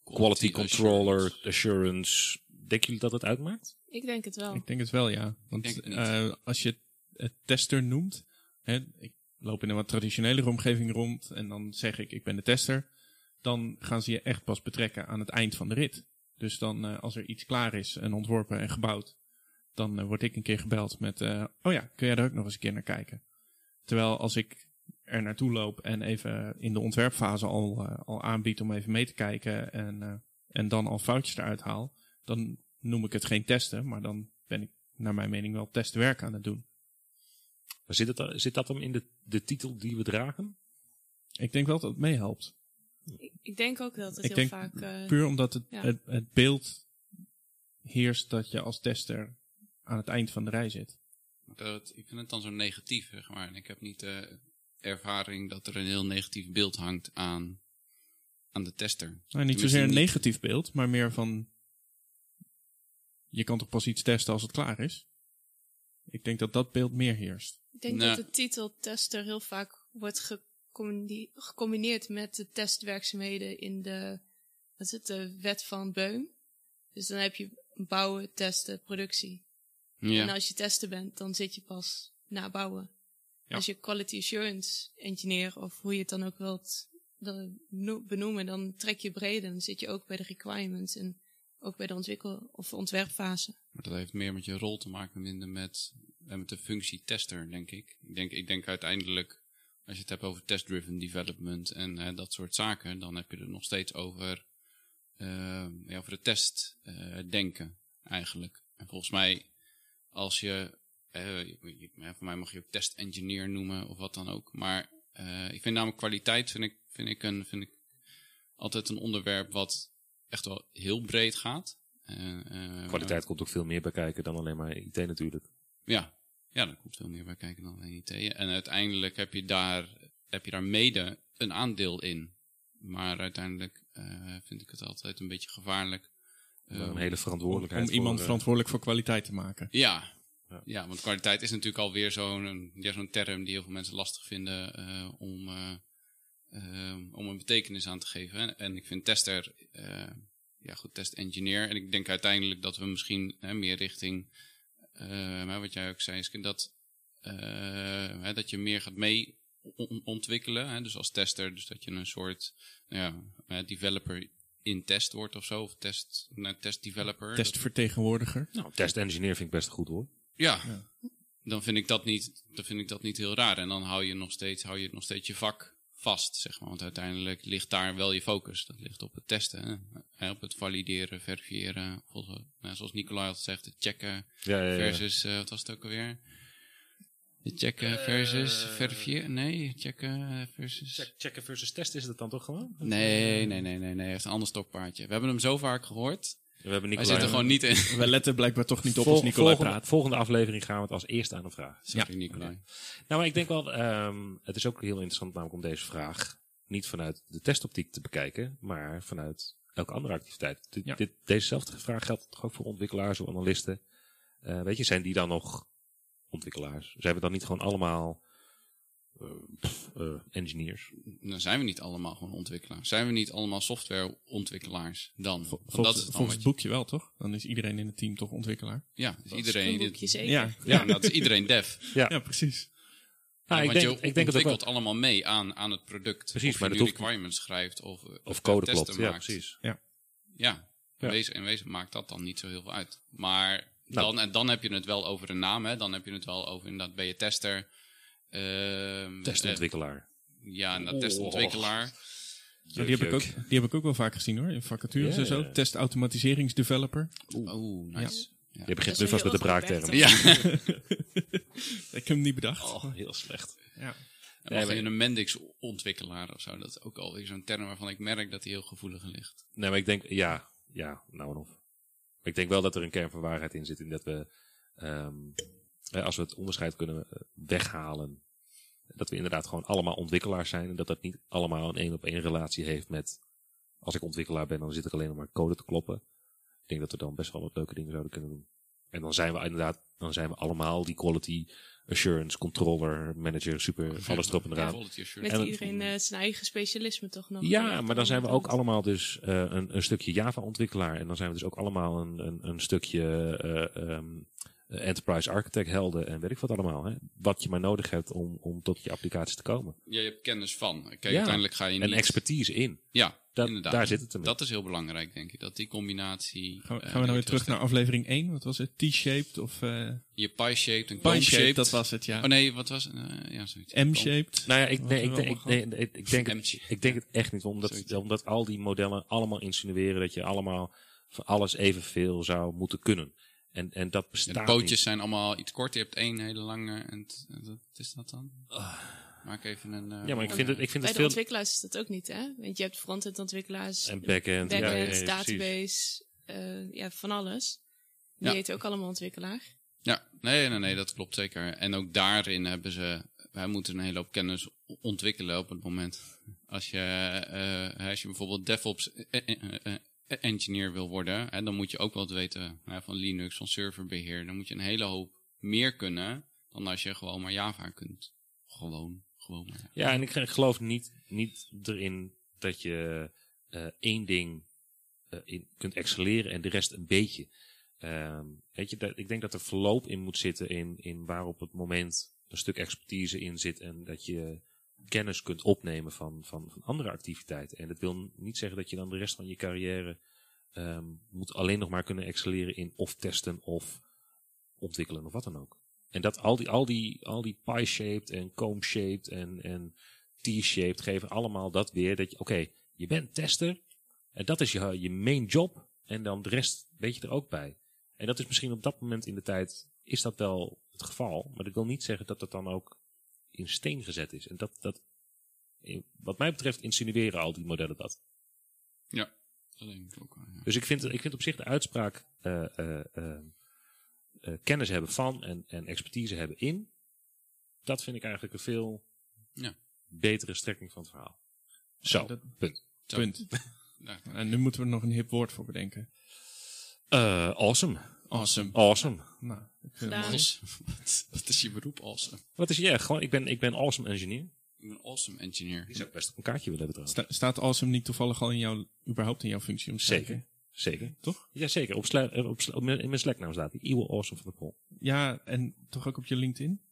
[SPEAKER 1] quality, controller,
[SPEAKER 2] assurance.
[SPEAKER 1] assurance. Denken jullie dat het uitmaakt?
[SPEAKER 4] Ik denk het wel.
[SPEAKER 3] Ik denk het wel, ja. Want
[SPEAKER 2] Denk het niet.
[SPEAKER 3] eh, als je het tester noemt, hè, ik loop in een wat traditionelere omgeving rond en dan zeg ik ik ben de tester, dan gaan ze je echt pas betrekken aan het eind van de rit. Dus dan eh, als er iets klaar is en ontworpen en gebouwd, dan eh, word ik een keer gebeld met, eh, oh ja, kun jij daar ook nog eens een keer naar kijken? Terwijl als ik er naartoe loop en even in de ontwerpfase al, eh, al aanbied om even mee te kijken en, eh, en dan al foutjes eruit haal, dan noem ik het geen testen, maar dan ben ik naar mijn mening wel testwerk aan het doen.
[SPEAKER 1] Maar zit, het, zit dat hem in de, de titel die we dragen?
[SPEAKER 3] Ik denk wel dat het meehelpt.
[SPEAKER 4] Ik, ik denk ook dat
[SPEAKER 3] Ik
[SPEAKER 4] het heel
[SPEAKER 3] denk
[SPEAKER 4] vaak... eh,
[SPEAKER 3] Puur omdat het,
[SPEAKER 4] ja.
[SPEAKER 3] het, het beeld heerst dat je als tester aan het eind van de rij zit.
[SPEAKER 2] Dat, ik vind het dan zo negatief, zeg maar. En ik heb niet de ervaring dat er een heel negatief beeld hangt aan, aan de tester.
[SPEAKER 3] Nou, niet
[SPEAKER 2] Tenminste,
[SPEAKER 3] zozeer een
[SPEAKER 2] niet-
[SPEAKER 3] negatief beeld, maar meer van... Je kan toch pas iets testen als het klaar is? Ik denk dat dat beeld meer heerst.
[SPEAKER 4] ik denk
[SPEAKER 2] Nou.
[SPEAKER 4] dat de titel tester heel vaak wordt gecombine- gecombineerd met de testwerkzaamheden in de, wat is het, de wet van Beum. Dus dan heb je bouwen, testen, productie. En
[SPEAKER 2] Ja,
[SPEAKER 4] als je tester bent, dan zit je pas na bouwen.
[SPEAKER 3] Ja.
[SPEAKER 4] Als je quality assurance engineer of hoe je het dan ook wilt dan no- benoemen, dan trek je breder. Dan zit je ook bij de requirements en ook bij de ontwikkel- of ontwerpfase.
[SPEAKER 2] maar dat heeft meer met je rol te maken, minder met, en met de functie tester, denk ik. Ik denk, ik denk uiteindelijk, als je het hebt over test-driven development en hè, dat soort zaken, dan heb je het nog steeds over, eh, ja, over het test eh, denken, eigenlijk. En volgens mij, als je, eh, je- je- hè, voor mij mag je ook test-engineer noemen of wat dan ook, maar eh, ik vind namelijk kwaliteit, vind ik, vind ik een, vind ik altijd een onderwerp wat echt wel heel breed gaat. Eh, eh,
[SPEAKER 1] Kwaliteit komt ook veel meer bij kijken dan alleen maar IT natuurlijk.
[SPEAKER 2] ja, ja daar komt veel meer bij kijken dan alleen IT. En uiteindelijk heb je daar, heb je daar mede een aandeel in. Maar uiteindelijk eh, vind ik het altijd een beetje gevaarlijk. eh,
[SPEAKER 1] een hele
[SPEAKER 3] Om,
[SPEAKER 1] verantwoordelijkheid. voor,
[SPEAKER 3] iemand
[SPEAKER 1] eh,
[SPEAKER 3] verantwoordelijk voor kwaliteit te maken.
[SPEAKER 2] ja.
[SPEAKER 1] Ja.
[SPEAKER 2] Ja. want kwaliteit is natuurlijk alweer zo'n ja, zo'n term die heel veel mensen lastig vinden eh, om, eh, eh, om een betekenis aan te geven. En, en ik vind tester, eh, ja goed, test engineer. En ik denk uiteindelijk dat we misschien hè, meer richting, eh, hè, wat jij ook zei, Iske, dat, eh, hè, dat je meer gaat mee on- ontwikkelen. Hè, dus als tester, dus dat je een soort nou ja, eh, developer in test wordt of zo. Of test, nou, test developer.
[SPEAKER 3] Testvertegenwoordiger.
[SPEAKER 1] nou, test engineer vind ik best goed hoor.
[SPEAKER 2] Ja.
[SPEAKER 3] Ja.
[SPEAKER 2] Dan vind ik dat niet, dan vind ik dat niet heel raar. En dan hou je nog steeds, hou je nog steeds je vak vast, zeg maar. Want uiteindelijk ligt daar wel je focus. Dat ligt op het testen, hè? op het valideren, verifiëren. Volgens, nou, zoals Nicolai altijd zegt, het checken
[SPEAKER 1] Ja, ja, ja.
[SPEAKER 2] versus, eh, wat was het ook alweer? Check eh, versus verifier. Nee, check eh, versus.
[SPEAKER 1] Check- checken versus testen is dat dan toch gewoon?
[SPEAKER 2] Nee, nee, nee, nee, nee. Echt een ander stokpaardje. We hebben hem zo vaak gehoord.
[SPEAKER 1] We hebben
[SPEAKER 2] Wij
[SPEAKER 1] Nicolai.
[SPEAKER 2] zitten gewoon niet in.
[SPEAKER 3] We letten blijkbaar toch niet op
[SPEAKER 1] Vol-
[SPEAKER 3] als Nicolai
[SPEAKER 1] volgende,
[SPEAKER 3] praat.
[SPEAKER 1] volgende aflevering gaan we het als eerste aan hem vragen.
[SPEAKER 2] Sorry, Nicolai.
[SPEAKER 1] Nou, maar ik denk wel, ehm, het is ook heel interessant namelijk om deze vraag niet vanuit de testoptiek te bekijken, maar vanuit elke andere activiteit. Dit,
[SPEAKER 3] Ja.
[SPEAKER 1] dit, dezezelfde vraag geldt toch ook voor ontwikkelaars of analisten. Eh, weet je, zijn die dan nog ontwikkelaars? Zijn we dan niet gewoon allemaal eh, pff, eh, engineers?
[SPEAKER 2] Dan zijn we niet allemaal gewoon ontwikkelaars. Zijn we niet allemaal softwareontwikkelaars dan?
[SPEAKER 3] Vol-
[SPEAKER 2] Want dat is
[SPEAKER 3] volgens
[SPEAKER 2] dan
[SPEAKER 3] volgens
[SPEAKER 2] wat
[SPEAKER 3] het
[SPEAKER 2] je-
[SPEAKER 3] boekje wel, toch? Dan is iedereen in het team toch ontwikkelaar.
[SPEAKER 2] Ja, is
[SPEAKER 4] Een
[SPEAKER 2] iedereen.
[SPEAKER 4] boekje zeker.
[SPEAKER 3] Ja,
[SPEAKER 2] ja, en dat is iedereen dev.
[SPEAKER 3] ja, precies.
[SPEAKER 1] Nou,
[SPEAKER 2] Ja,
[SPEAKER 1] ik
[SPEAKER 2] want
[SPEAKER 1] denk,
[SPEAKER 2] je
[SPEAKER 1] ik denk dat ook
[SPEAKER 2] ontwikkelt
[SPEAKER 1] wel-
[SPEAKER 2] allemaal mee aan, aan het product.
[SPEAKER 1] Precies,
[SPEAKER 2] of
[SPEAKER 1] maar
[SPEAKER 2] je
[SPEAKER 1] dat
[SPEAKER 2] nu
[SPEAKER 1] hoeft niet.
[SPEAKER 2] requirements schrijft of, eh,
[SPEAKER 1] Of code
[SPEAKER 2] testen
[SPEAKER 1] klopt, ja
[SPEAKER 2] maakt.
[SPEAKER 1] precies.
[SPEAKER 2] Ja,
[SPEAKER 1] Ja.
[SPEAKER 2] Wees, in wezen maakt dat dan niet zo heel veel uit. Maar
[SPEAKER 1] Nou.
[SPEAKER 2] dan, en dan heb je het wel over een naam. Hè? Dan heb je het wel over inderdaad ben je tester. ehm, eh,
[SPEAKER 1] Testontwikkelaar.
[SPEAKER 2] Ja, inderdaad
[SPEAKER 1] Oh.
[SPEAKER 2] testontwikkelaar.
[SPEAKER 3] Nou, die, heb ik ook, die heb ik ook wel vaak gezien hoor, in vacatures
[SPEAKER 1] Ja,
[SPEAKER 3] en
[SPEAKER 1] ja,
[SPEAKER 3] zo.
[SPEAKER 1] ja.
[SPEAKER 3] Testautomatiseringsdeveloper.
[SPEAKER 2] Oeh, nice.
[SPEAKER 1] Je begint
[SPEAKER 4] is
[SPEAKER 1] nu
[SPEAKER 4] een
[SPEAKER 1] vast met de
[SPEAKER 4] heel goed
[SPEAKER 1] braakterm.
[SPEAKER 4] werktuig.
[SPEAKER 2] Ja.
[SPEAKER 3] Ik heb hem niet bedacht.
[SPEAKER 1] Oh, heel slecht.
[SPEAKER 3] Ja.
[SPEAKER 2] En dan
[SPEAKER 1] maar-
[SPEAKER 2] ben je een Mendix ontwikkelaar of zo. Dat is ook alweer zo'n term waarvan ik merk dat die heel gevoelig ligt.
[SPEAKER 1] Nee, maar ik denk, ja, ja, nou en of. Maar ik denk wel dat er een kern van waarheid in zit. In dat we, ehm, hè, als we het onderscheid kunnen eh, weghalen, dat we inderdaad gewoon allemaal ontwikkelaars zijn. En dat dat niet allemaal een één op één relatie heeft met, als ik ontwikkelaar ben, dan zit ik alleen nog maar code te kloppen. Ik denk dat we dan best wel wat leuke dingen zouden kunnen doen. En dan zijn we inderdaad, dan zijn we allemaal die quality assurance, controller, manager, super, alles erop en eraan.
[SPEAKER 2] Quality assurance.
[SPEAKER 4] Met
[SPEAKER 1] En-
[SPEAKER 4] iedereen eh, zijn eigen specialisme toch nog.
[SPEAKER 1] Ja, maar dan zijn we ook allemaal dus eh, een, een stukje Java-ontwikkelaar. En dan zijn we dus ook allemaal een, een, een stukje eh, ehm, eh, Enterprise Architect helden en weet ik wat allemaal. Hè? Wat je maar nodig hebt om, om tot je applicatie te komen.
[SPEAKER 2] Ja, je hebt kennis van. Kijk,
[SPEAKER 1] Ja.
[SPEAKER 2] uiteindelijk ga je niet...
[SPEAKER 1] En expertise in.
[SPEAKER 2] Ja,
[SPEAKER 1] Dat-
[SPEAKER 2] inderdaad.
[SPEAKER 1] daar zit het hem in.
[SPEAKER 2] Dat is heel belangrijk, denk ik. Dat die combinatie...
[SPEAKER 3] Gaan, we-
[SPEAKER 2] eh,
[SPEAKER 3] gaan we nou weer
[SPEAKER 2] werkt heel
[SPEAKER 3] terug naar aflevering 1? Wat was het? T-shaped of eh
[SPEAKER 2] Je pie-shaped
[SPEAKER 3] pie-shaped?
[SPEAKER 2] en cone-shaped.
[SPEAKER 3] Dat was het, ja.
[SPEAKER 2] Oh nee, wat was het? Eh, ja, zoiets.
[SPEAKER 3] M-shaped?
[SPEAKER 1] Nou ja, ik,
[SPEAKER 3] Wat
[SPEAKER 1] nee,
[SPEAKER 3] we
[SPEAKER 1] ik, denk- ik, nee,
[SPEAKER 3] allemaal
[SPEAKER 1] nee, ik, denk, het,
[SPEAKER 2] Empty.
[SPEAKER 1] ik denk het echt niet. Omdat,
[SPEAKER 2] Zoiets.
[SPEAKER 1] omdat al die modellen allemaal insinueren dat je allemaal van alles evenveel zou moeten kunnen. En, en dat
[SPEAKER 2] En
[SPEAKER 1] bestaat
[SPEAKER 2] de
[SPEAKER 1] niet.
[SPEAKER 2] pootjes zijn allemaal iets korter. Je hebt één hele lange. En het- en dat- wat is dat dan? Maak even een. eh,
[SPEAKER 1] Ah. Ja, maar ik vind het, ik vind
[SPEAKER 4] Bij
[SPEAKER 1] het
[SPEAKER 4] de
[SPEAKER 1] veel...
[SPEAKER 4] ontwikkelaars is dat ook niet, hè? Want je hebt frontend ontwikkelaars,
[SPEAKER 1] En backend. ja, ja, ja,
[SPEAKER 4] backend,
[SPEAKER 1] precies.
[SPEAKER 4] database, eh, ja, van alles. Die
[SPEAKER 2] Ja.
[SPEAKER 4] heet ook allemaal ontwikkelaar.
[SPEAKER 2] Ja, nee, nee, nee, dat klopt zeker. En ook daarin hebben ze. Wij moeten een hele hoop kennis o- ontwikkelen op het moment. Als je, eh, als je bijvoorbeeld DevOps eh, eh, eh, engineer wil worden, hè, dan moet je ook wel wat weten hè, van Linux, van serverbeheer. Dan moet je een hele hoop meer kunnen dan als je gewoon maar Java kunt. Gewoon, gewoon maar.
[SPEAKER 1] Ja, en ik, ik geloof niet, niet erin dat je eh, één ding eh, in, kunt excelleren en de rest een beetje. Ehm, weet je, dat, ik denk dat er verloop in moet zitten in, in waar op het moment een stuk expertise in zit en dat je kennis kunt opnemen van, van, van andere activiteiten. En dat wil niet zeggen dat je dan de rest van je carrière ehm, moet alleen nog maar kunnen excelleren in of testen of ontwikkelen of wat dan ook. En dat al die, al die, al die pie-shaped en comb-shaped en, en T-shaped geven allemaal dat weer. Dat je, oké, je bent tester. En dat is je, je main job. En dan de rest weet je er ook bij. En dat is misschien op dat moment in de tijd, is dat wel het geval. Maar dat wil niet zeggen dat dat dan ook in steen gezet is. En dat, dat wat mij betreft, insinueren al die modellen dat.
[SPEAKER 2] Dat denk ik ook wel, ja.
[SPEAKER 1] Dus ik vind, ik vind op zich de uitspraak eh, eh, eh, eh, kennis hebben van en, en expertise hebben in. Dat vind ik eigenlijk een veel
[SPEAKER 2] Ja.
[SPEAKER 1] betere strekking van het verhaal. Zo,
[SPEAKER 3] dat-
[SPEAKER 1] punt.
[SPEAKER 2] Zo.
[SPEAKER 3] Punt.
[SPEAKER 2] Ja.
[SPEAKER 3] En nu moeten we er nog een hip woord voor bedenken.
[SPEAKER 1] Eh, awesome.
[SPEAKER 3] Awesome.
[SPEAKER 1] Awesome.
[SPEAKER 3] Nou, ik vind
[SPEAKER 4] Gedaan.
[SPEAKER 3] het mooi.
[SPEAKER 2] Als, wat, wat is je beroep als? eh,
[SPEAKER 1] Wat is je? Ja, gewoon, ik ben, ik ben awesome engineer.
[SPEAKER 2] Ik ben awesome engineer.
[SPEAKER 1] Die zou ik best op een kaartje willen hebben trouwens.
[SPEAKER 3] Sta- staat awesome niet toevallig al in jouw, überhaupt in jouw functie?
[SPEAKER 1] Zeker. Zeker.
[SPEAKER 3] Toch?
[SPEAKER 1] Jazeker. Op sla- eh, op sla- op mijn- in mijn Slack-naam staat die. Eeuwen awesome van de pol.
[SPEAKER 3] Ja, en toch ook op je LinkedIn?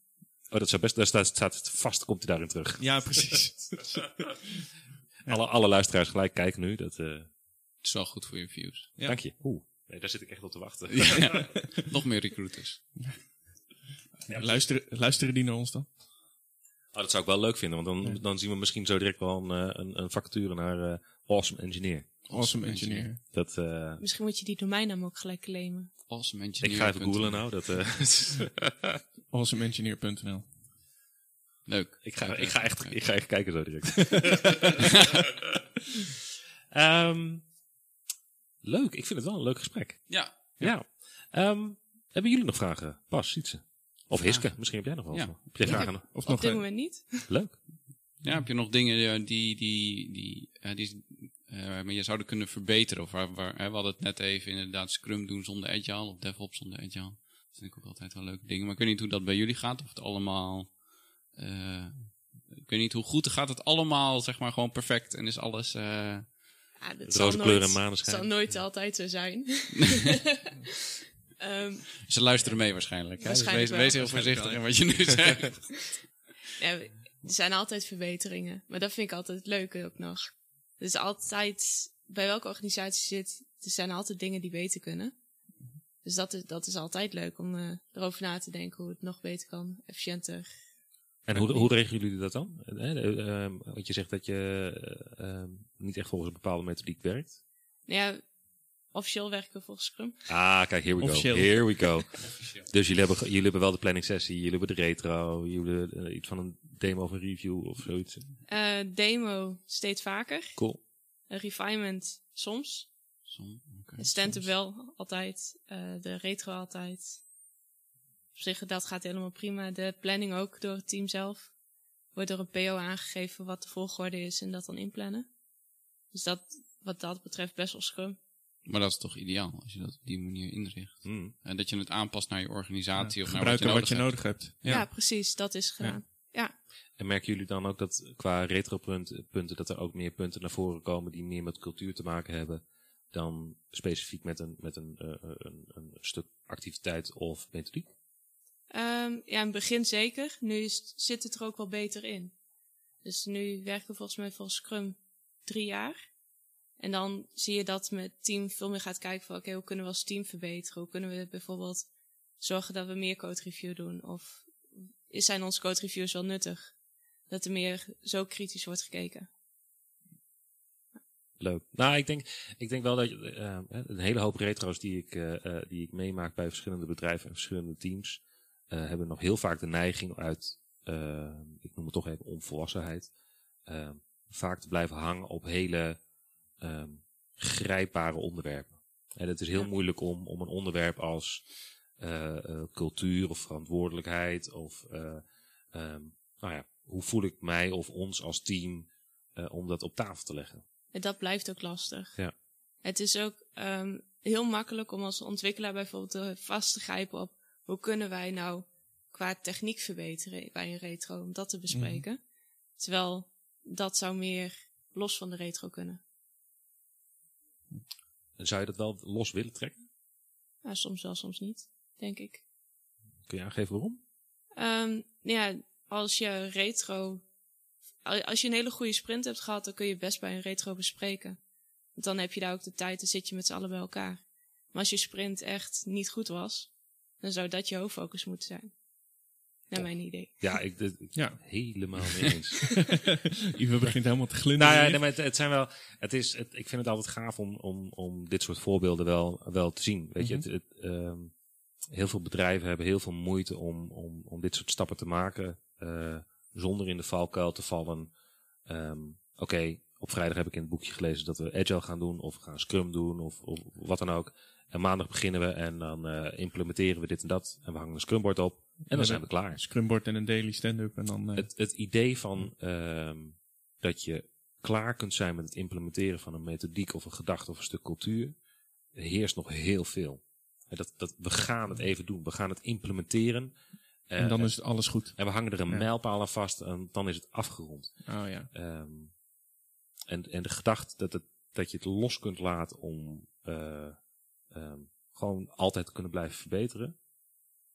[SPEAKER 1] Oh, dat zou best, daar staat, staat vast, komt hij daarin terug.
[SPEAKER 3] Ja, precies.
[SPEAKER 1] Alle, alle luisteraars gelijk kijken nu. Dat, eh,
[SPEAKER 2] Het is wel goed voor je views.
[SPEAKER 3] Ja.
[SPEAKER 1] Dank je. Oeh. Nee, daar zit ik echt op te wachten.
[SPEAKER 2] Ja. Nog meer recruiters.
[SPEAKER 3] luisteren, luisteren die naar ons dan?
[SPEAKER 1] Oh, dat zou ik wel leuk vinden, want dan, dan zien we misschien zo direct wel een, eh, een, een vacature naar eh, Awesome Engineer.
[SPEAKER 3] Awesome engineer.
[SPEAKER 1] Dat, eh,
[SPEAKER 4] Misschien moet je die domeinnaam ook gelijk claimen.
[SPEAKER 2] Awesome engineer.
[SPEAKER 1] ik ga even googlen nou. Dat, eh,
[SPEAKER 3] Awesomeengineer.nl
[SPEAKER 2] Leuk.
[SPEAKER 1] nou. Ik ga,
[SPEAKER 2] Leuk,
[SPEAKER 1] ik
[SPEAKER 2] leuk,
[SPEAKER 1] ga, echt,
[SPEAKER 2] leuk.
[SPEAKER 1] ik ga echt kijken zo direct. Ehm, leuk, ik vind het wel een leuk gesprek.
[SPEAKER 2] Ja.
[SPEAKER 1] Ja. Ehm, hebben jullie nog vragen? Pas, Sietse. Of
[SPEAKER 2] Vragen?
[SPEAKER 1] Hiske, misschien heb jij nog wel.
[SPEAKER 2] Ja.
[SPEAKER 1] Heb jij
[SPEAKER 4] Ja.
[SPEAKER 1] vragen? nog?
[SPEAKER 3] Of
[SPEAKER 4] Op
[SPEAKER 3] nog
[SPEAKER 4] dit
[SPEAKER 3] eh,
[SPEAKER 4] moment niet.
[SPEAKER 1] Leuk.
[SPEAKER 2] Ja, heb je nog dingen eh, die, die, die, eh, die eh, maar je zouden kunnen verbeteren? Of waar, waar, hè, we hadden het net even inderdaad Scrum doen zonder Agile of DevOps zonder Agile. Dat vind ik ook altijd wel leuke dingen. Maar ik weet niet hoe dat bij jullie gaat. Of het allemaal... eh, ik weet niet hoe goed gaat het allemaal, zeg maar, gewoon perfect. En is alles... eh,
[SPEAKER 4] Ja, dat
[SPEAKER 1] Roze
[SPEAKER 4] zal
[SPEAKER 1] kleur en
[SPEAKER 4] nooit,
[SPEAKER 1] maneschijn.
[SPEAKER 4] zal nooit altijd zo zijn. Ehm,
[SPEAKER 2] ze luisteren mee waarschijnlijk. Hè?
[SPEAKER 4] Waarschijnlijk
[SPEAKER 2] dus wees, wees
[SPEAKER 4] wel.
[SPEAKER 2] heel voorzichtig in wat je nu zegt.
[SPEAKER 4] ja, we- er zijn altijd verbeteringen. Maar dat vind ik altijd het leuke ook nog. Dus altijd, bij welke organisatie je zit, er zijn altijd dingen die beter kunnen. Dus dat is, dat is altijd leuk om eh, erover na te denken hoe het nog beter kan, efficiënter.
[SPEAKER 1] En hoe, hoe regelen jullie dat dan? Eh, eh, ehm, want je zegt dat je eh, ehm, niet echt volgens een bepaalde methodiek werkt.
[SPEAKER 4] Nou ja, officieel werken we volgens Scrum.
[SPEAKER 1] Ah, kijk, here we
[SPEAKER 3] Officieel.
[SPEAKER 1] go. Here we go. dus jullie hebben, ge- jullie hebben wel de planning sessie, jullie hebben de retro, jullie hebben eh, iets van een demo of een review of zoiets.
[SPEAKER 4] Eh, demo steeds vaker.
[SPEAKER 1] Cool.
[SPEAKER 4] Een refinement soms.
[SPEAKER 2] Som- oké,
[SPEAKER 4] Een stand-up
[SPEAKER 2] soms.
[SPEAKER 4] wel altijd. eh, de retro altijd. Op zich, dat gaat helemaal prima. De planning ook door het team zelf. Wordt door een PO aangegeven wat de volgorde is en dat dan inplannen. Dus dat, wat dat betreft, best wel scrum.
[SPEAKER 2] Maar dat is toch ideaal als je dat op die manier inricht.
[SPEAKER 1] Hmm.
[SPEAKER 2] En dat je het aanpast naar je organisatie of naar wat je
[SPEAKER 3] gebruiken wat
[SPEAKER 2] nodig
[SPEAKER 3] je
[SPEAKER 2] hebt.
[SPEAKER 3] nodig hebt.
[SPEAKER 4] Ja,
[SPEAKER 2] Ja.
[SPEAKER 4] precies. Dat is gedaan.
[SPEAKER 1] En merken jullie dan ook dat qua retropunten, dat er ook meer punten naar voren komen die meer met cultuur te maken hebben dan specifiek met een, met een, eh, eh, een, een stuk activiteit of methodiek?
[SPEAKER 4] Ehm, Ja, ja in het begin zeker. Nu is, zit het er ook wel beter in. Dus nu werken we volgens mij volgens scrum drie jaar. En dan zie je dat met het team veel meer gaat kijken van oké, hoe kunnen we als team verbeteren? Hoe kunnen we bijvoorbeeld zorgen dat we meer code review doen? Of is- zijn onze code reviews wel nuttig? Dat er meer zo kritisch wordt gekeken.
[SPEAKER 1] Leuk. Nou, ik denk, ik denk wel dat je, eh, een hele hoop retro's die ik, eh, eh, die ik meemaak bij verschillende bedrijven en verschillende teams, eh, hebben nog heel vaak de neiging uit, eh, ik noem het toch even onvolwassenheid, eh, vaak te blijven hangen op hele ehm, grijpbare onderwerpen. En het is heel
[SPEAKER 4] Ja.
[SPEAKER 1] moeilijk om, om een onderwerp als eh, eh, cultuur of verantwoordelijkheid of, eh, ehm, nou ja, hoe voel ik mij of ons als team eh, om dat op tafel te leggen.
[SPEAKER 4] En dat blijft ook lastig.
[SPEAKER 1] Ja.
[SPEAKER 4] Het is ook ehm, heel makkelijk om als ontwikkelaar bijvoorbeeld eh, vast te grijpen op hoe kunnen wij nou qua techniek verbeteren bij een retro, om dat te bespreken. Terwijl dat zou meer los van de retro kunnen.
[SPEAKER 1] Zou je dat wel los willen trekken?
[SPEAKER 4] Nou, soms wel, soms niet, denk ik.
[SPEAKER 1] Kun je aangeven waarom?
[SPEAKER 4] Ehm, ja, als je retro. al- Als je een hele goede sprint hebt gehad, dan kun je best bij een retro bespreken. Want dan heb je daar ook de tijd, dan zit je met z'n allen bij elkaar. Maar als je sprint echt niet goed was, dan zou dat je hoofdfocus moeten zijn. Naar mijn idee.
[SPEAKER 1] Ja, ik dit- ik
[SPEAKER 3] Ja.
[SPEAKER 1] helemaal mee eens.
[SPEAKER 3] Ivo begint helemaal te
[SPEAKER 1] nou
[SPEAKER 3] glunderen.
[SPEAKER 1] ja,
[SPEAKER 3] hier.
[SPEAKER 1] nee, maar het, het zijn wel. Het is, het, ik vind het altijd gaaf om, om, om dit soort voorbeelden wel, wel te zien. Weet je, het, het, ehm, heel veel bedrijven hebben heel veel moeite om, om, om dit soort stappen te maken. eh, zonder in de valkuil te vallen. Ehm, Oké, op vrijdag heb ik in het boekje gelezen dat we agile gaan doen. Of we gaan scrum doen. Of, of wat dan ook. En maandag beginnen we en dan eh, implementeren we dit en dat. En we hangen een scrumboard op. En dan
[SPEAKER 3] Ja,
[SPEAKER 1] zijn we
[SPEAKER 3] dat-
[SPEAKER 1] klaar.
[SPEAKER 3] Een Scrumboard en een daily stand-up. En dan, eh,
[SPEAKER 1] het, het idee van ehm, dat je klaar kunt zijn met het implementeren van een methodiek of een gedachte of een stuk cultuur, heerst nog heel veel. En dat, dat, we gaan het even doen, we gaan het implementeren. Eh,
[SPEAKER 3] en dan is alles goed.
[SPEAKER 1] en we hangen er een
[SPEAKER 3] Ja.
[SPEAKER 1] mijlpaal aan vast en dan is het afgerond.
[SPEAKER 3] Oh ja.
[SPEAKER 1] Ehm, en, en de gedachte dat, het, dat je het los kunt laten om eh, ehm, gewoon altijd te kunnen blijven verbeteren,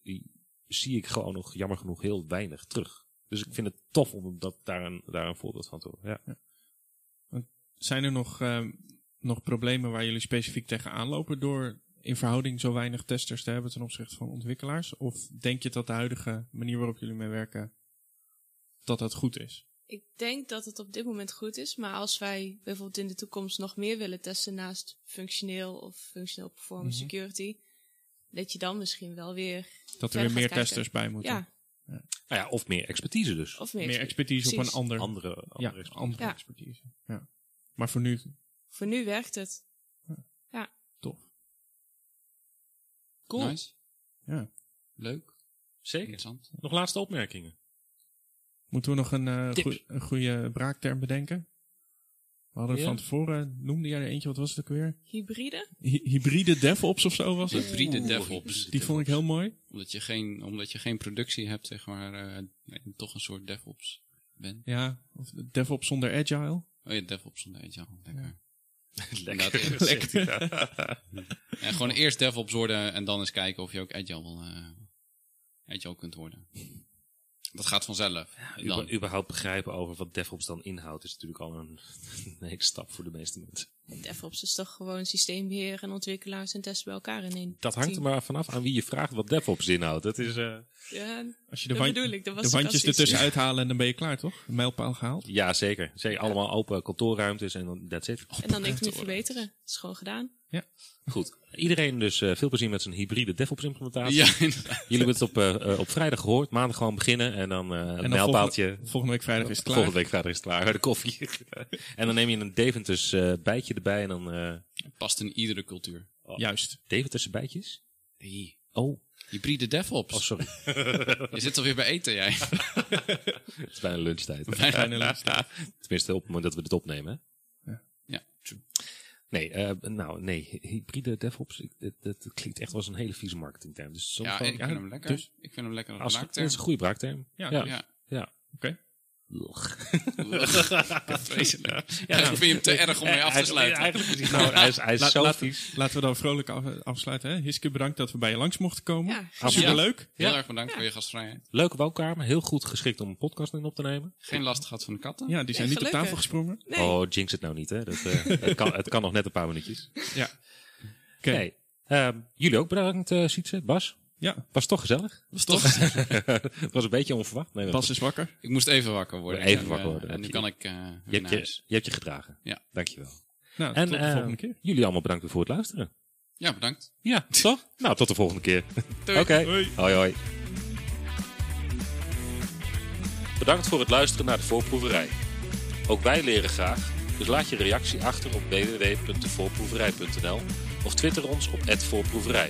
[SPEAKER 1] die zie ik gewoon nog jammer genoeg heel weinig terug. Dus ik vind het tof om dat, daar, een, daar een voorbeeld van te horen. Ja.
[SPEAKER 3] Zijn er nog, ehm, nog problemen waar jullie specifiek tegenaan lopen door in verhouding zo weinig testers te hebben ten opzichte van ontwikkelaars? Of denk je dat de huidige manier waarop jullie mee werken, dat dat goed is?
[SPEAKER 4] Ik denk dat het op dit moment goed is, maar als wij bijvoorbeeld in de toekomst nog meer willen testen naast functioneel of functioneel performance
[SPEAKER 3] Mhm.
[SPEAKER 4] security, dat je dan misschien wel weer.
[SPEAKER 3] Dat er weer
[SPEAKER 4] Verder
[SPEAKER 3] meer
[SPEAKER 4] gaat kijken.
[SPEAKER 3] testers bij moeten?
[SPEAKER 4] Ja,
[SPEAKER 1] Nou ja, of meer expertise dus.
[SPEAKER 4] Of
[SPEAKER 3] Meer expertise op
[SPEAKER 4] Precies.
[SPEAKER 3] een ander.
[SPEAKER 1] Andere, andere
[SPEAKER 3] ja,
[SPEAKER 1] expertise.
[SPEAKER 3] andere
[SPEAKER 4] Ja.
[SPEAKER 3] expertise. Ja. Maar voor nu,
[SPEAKER 4] Voor nu werkt het.
[SPEAKER 3] tof.
[SPEAKER 1] Cool.
[SPEAKER 2] Nice.
[SPEAKER 3] Ja.
[SPEAKER 2] Leuk.
[SPEAKER 1] Zeker.
[SPEAKER 2] Interessant.
[SPEAKER 1] Nog laatste opmerkingen.
[SPEAKER 3] Moeten we nog een, eh,
[SPEAKER 1] Tip.
[SPEAKER 3] goe- een goede braakterm bedenken? We hadden
[SPEAKER 1] Ja.
[SPEAKER 3] van tevoren, noemde jij er eentje, wat was het ook weer?
[SPEAKER 4] Hybride?
[SPEAKER 3] Hy- hybride DevOps of zo was het?
[SPEAKER 2] Hybride
[SPEAKER 1] Oeh,
[SPEAKER 2] DevOps.
[SPEAKER 3] Die vond ik heel mooi.
[SPEAKER 2] Omdat je geen, omdat je geen productie hebt, zeg maar, eh, en toch een soort DevOps bent.
[SPEAKER 3] Ja, of DevOps zonder Agile.
[SPEAKER 2] Oh ja, DevOps zonder agile. Lekker.
[SPEAKER 1] lekker.
[SPEAKER 2] Inderdaad.
[SPEAKER 1] gezegd, ja.
[SPEAKER 2] En gewoon eerst DevOps worden en dan eens kijken of je ook agile, wil, eh, agile kunt worden. Dat gaat vanzelf. Dan.
[SPEAKER 1] Uber- überhaupt begrijpen over wat DevOps dan inhoudt is natuurlijk al een, een hele stap voor de meeste mensen.
[SPEAKER 4] DevOps is toch gewoon systeembeheer en ontwikkelaars en testen bij elkaar in één
[SPEAKER 1] Dat hangt er
[SPEAKER 4] team.
[SPEAKER 1] maar vanaf aan wie je vraagt wat DevOps inhoudt. Dat is, eh,
[SPEAKER 4] Ja,
[SPEAKER 3] Als je de,
[SPEAKER 4] dat
[SPEAKER 3] wan-
[SPEAKER 4] bedoel ik. Dat was
[SPEAKER 3] de wandjes
[SPEAKER 4] sarcastisch.
[SPEAKER 3] ertussen uithalen en dan ben je klaar, toch? Een mijlpaal gehaald.
[SPEAKER 1] ja, zeker. zeker. Allemaal open kantoorruimtes en dan- that's it.
[SPEAKER 4] En dan niks meer verbeteren. Dat is gewoon gedaan.
[SPEAKER 1] Goed. Iedereen dus eh, veel plezier met zijn hybride DevOps implementatie.
[SPEAKER 2] Ja, inderdaad.
[SPEAKER 1] Jullie hebben het op, eh, eh, op vrijdag gehoord. Maandag gewoon beginnen en dan eh een
[SPEAKER 3] dan
[SPEAKER 1] mijlpaaltje.
[SPEAKER 3] Volgende, volgende week vrijdag is het klaar.
[SPEAKER 1] Volgende week vrijdag is het klaar bij de koffie. en dan neem je een Deventers eh, bijtje erbij en dan... eh
[SPEAKER 2] Past in iedere cultuur.
[SPEAKER 3] Juist.
[SPEAKER 1] Deventerse bijtjes?
[SPEAKER 2] Nee.
[SPEAKER 1] Oh,
[SPEAKER 2] Hybride DevOps.
[SPEAKER 1] oh sorry.
[SPEAKER 2] Je zit alweer bij eten, jij.
[SPEAKER 1] het is bijna lunchtijd.
[SPEAKER 3] Bijna lunchtijd.
[SPEAKER 1] Tenminste, op het moment dat we dit opnemen. hè?
[SPEAKER 2] Ja, true.
[SPEAKER 1] Nee, eh, nou nee, hybride DevOps, ik- dat, dat, dat klinkt echt als een hele vieze marketingterm. Dus soms
[SPEAKER 2] Ja,
[SPEAKER 1] gewoon-
[SPEAKER 2] ik vind hem lekker.
[SPEAKER 1] dus-
[SPEAKER 2] ik vind hem lekker als
[SPEAKER 1] als, het
[SPEAKER 2] maakterm.
[SPEAKER 1] is een goede braakterm.
[SPEAKER 3] Ja,
[SPEAKER 1] ja.
[SPEAKER 2] Ja.
[SPEAKER 1] ja.
[SPEAKER 3] Oké.
[SPEAKER 1] Ugh.
[SPEAKER 2] Vreselijk. nou. Ja, ik vind hem te erg om mee af te sluiten.
[SPEAKER 1] Eigenlijk is hij, nou, hij is, hij is
[SPEAKER 3] Laat-
[SPEAKER 1] zo
[SPEAKER 3] laat-
[SPEAKER 1] vies.
[SPEAKER 3] Laten we dan vrolijk af- afsluiten. Hè? Hiske, bedankt dat we bij je langs mochten komen.
[SPEAKER 4] Ja,
[SPEAKER 3] Superleuk.
[SPEAKER 2] Heel
[SPEAKER 1] Ja.
[SPEAKER 2] erg bedankt voor je gastvrijheid.
[SPEAKER 1] Leuke woonkamer, heel goed geschikt om een podcast in op te nemen.
[SPEAKER 2] Geen last gehad van de katten.
[SPEAKER 3] Ja, die zijn
[SPEAKER 4] Ja,
[SPEAKER 3] niet op
[SPEAKER 4] gelukkig.
[SPEAKER 3] tafel gesprongen.
[SPEAKER 4] nee.
[SPEAKER 1] Oh, jinx het nou niet, hè? Dat, eh, het, kan, het kan nog net een paar minuutjes.
[SPEAKER 3] Ja. Oké.
[SPEAKER 1] Nee, ehm, jullie ook bedankt, eh Sietse, Bas.
[SPEAKER 3] Ja,
[SPEAKER 1] Was toch gezellig?
[SPEAKER 2] was toch?
[SPEAKER 1] Het was een beetje onverwacht. Nee,
[SPEAKER 3] Bas is wakker.
[SPEAKER 2] Ik moest even wakker worden.
[SPEAKER 1] Even
[SPEAKER 2] En, eh,
[SPEAKER 1] wakker worden,
[SPEAKER 2] En nu
[SPEAKER 1] heb
[SPEAKER 2] kan ik eh
[SPEAKER 1] je,
[SPEAKER 2] weer
[SPEAKER 1] hebt
[SPEAKER 2] naar
[SPEAKER 1] je,
[SPEAKER 2] huis.
[SPEAKER 1] je hebt je gedragen.
[SPEAKER 2] Ja.
[SPEAKER 1] Dankjewel.
[SPEAKER 3] Nou,
[SPEAKER 1] En
[SPEAKER 3] tot de
[SPEAKER 1] eh,
[SPEAKER 3] volgende keer.
[SPEAKER 1] jullie allemaal bedankt weer voor het luisteren.
[SPEAKER 2] Ja, bedankt.
[SPEAKER 1] Ja, toch? Nou, tot de volgende keer. Oké,
[SPEAKER 2] Doei.
[SPEAKER 1] hoi hoi. Bedankt voor het luisteren naar de voorproeverij. Ook wij leren graag, dus laat je reactie achter op www.voorproeverij.nl of twitter ons op @voorproeverij.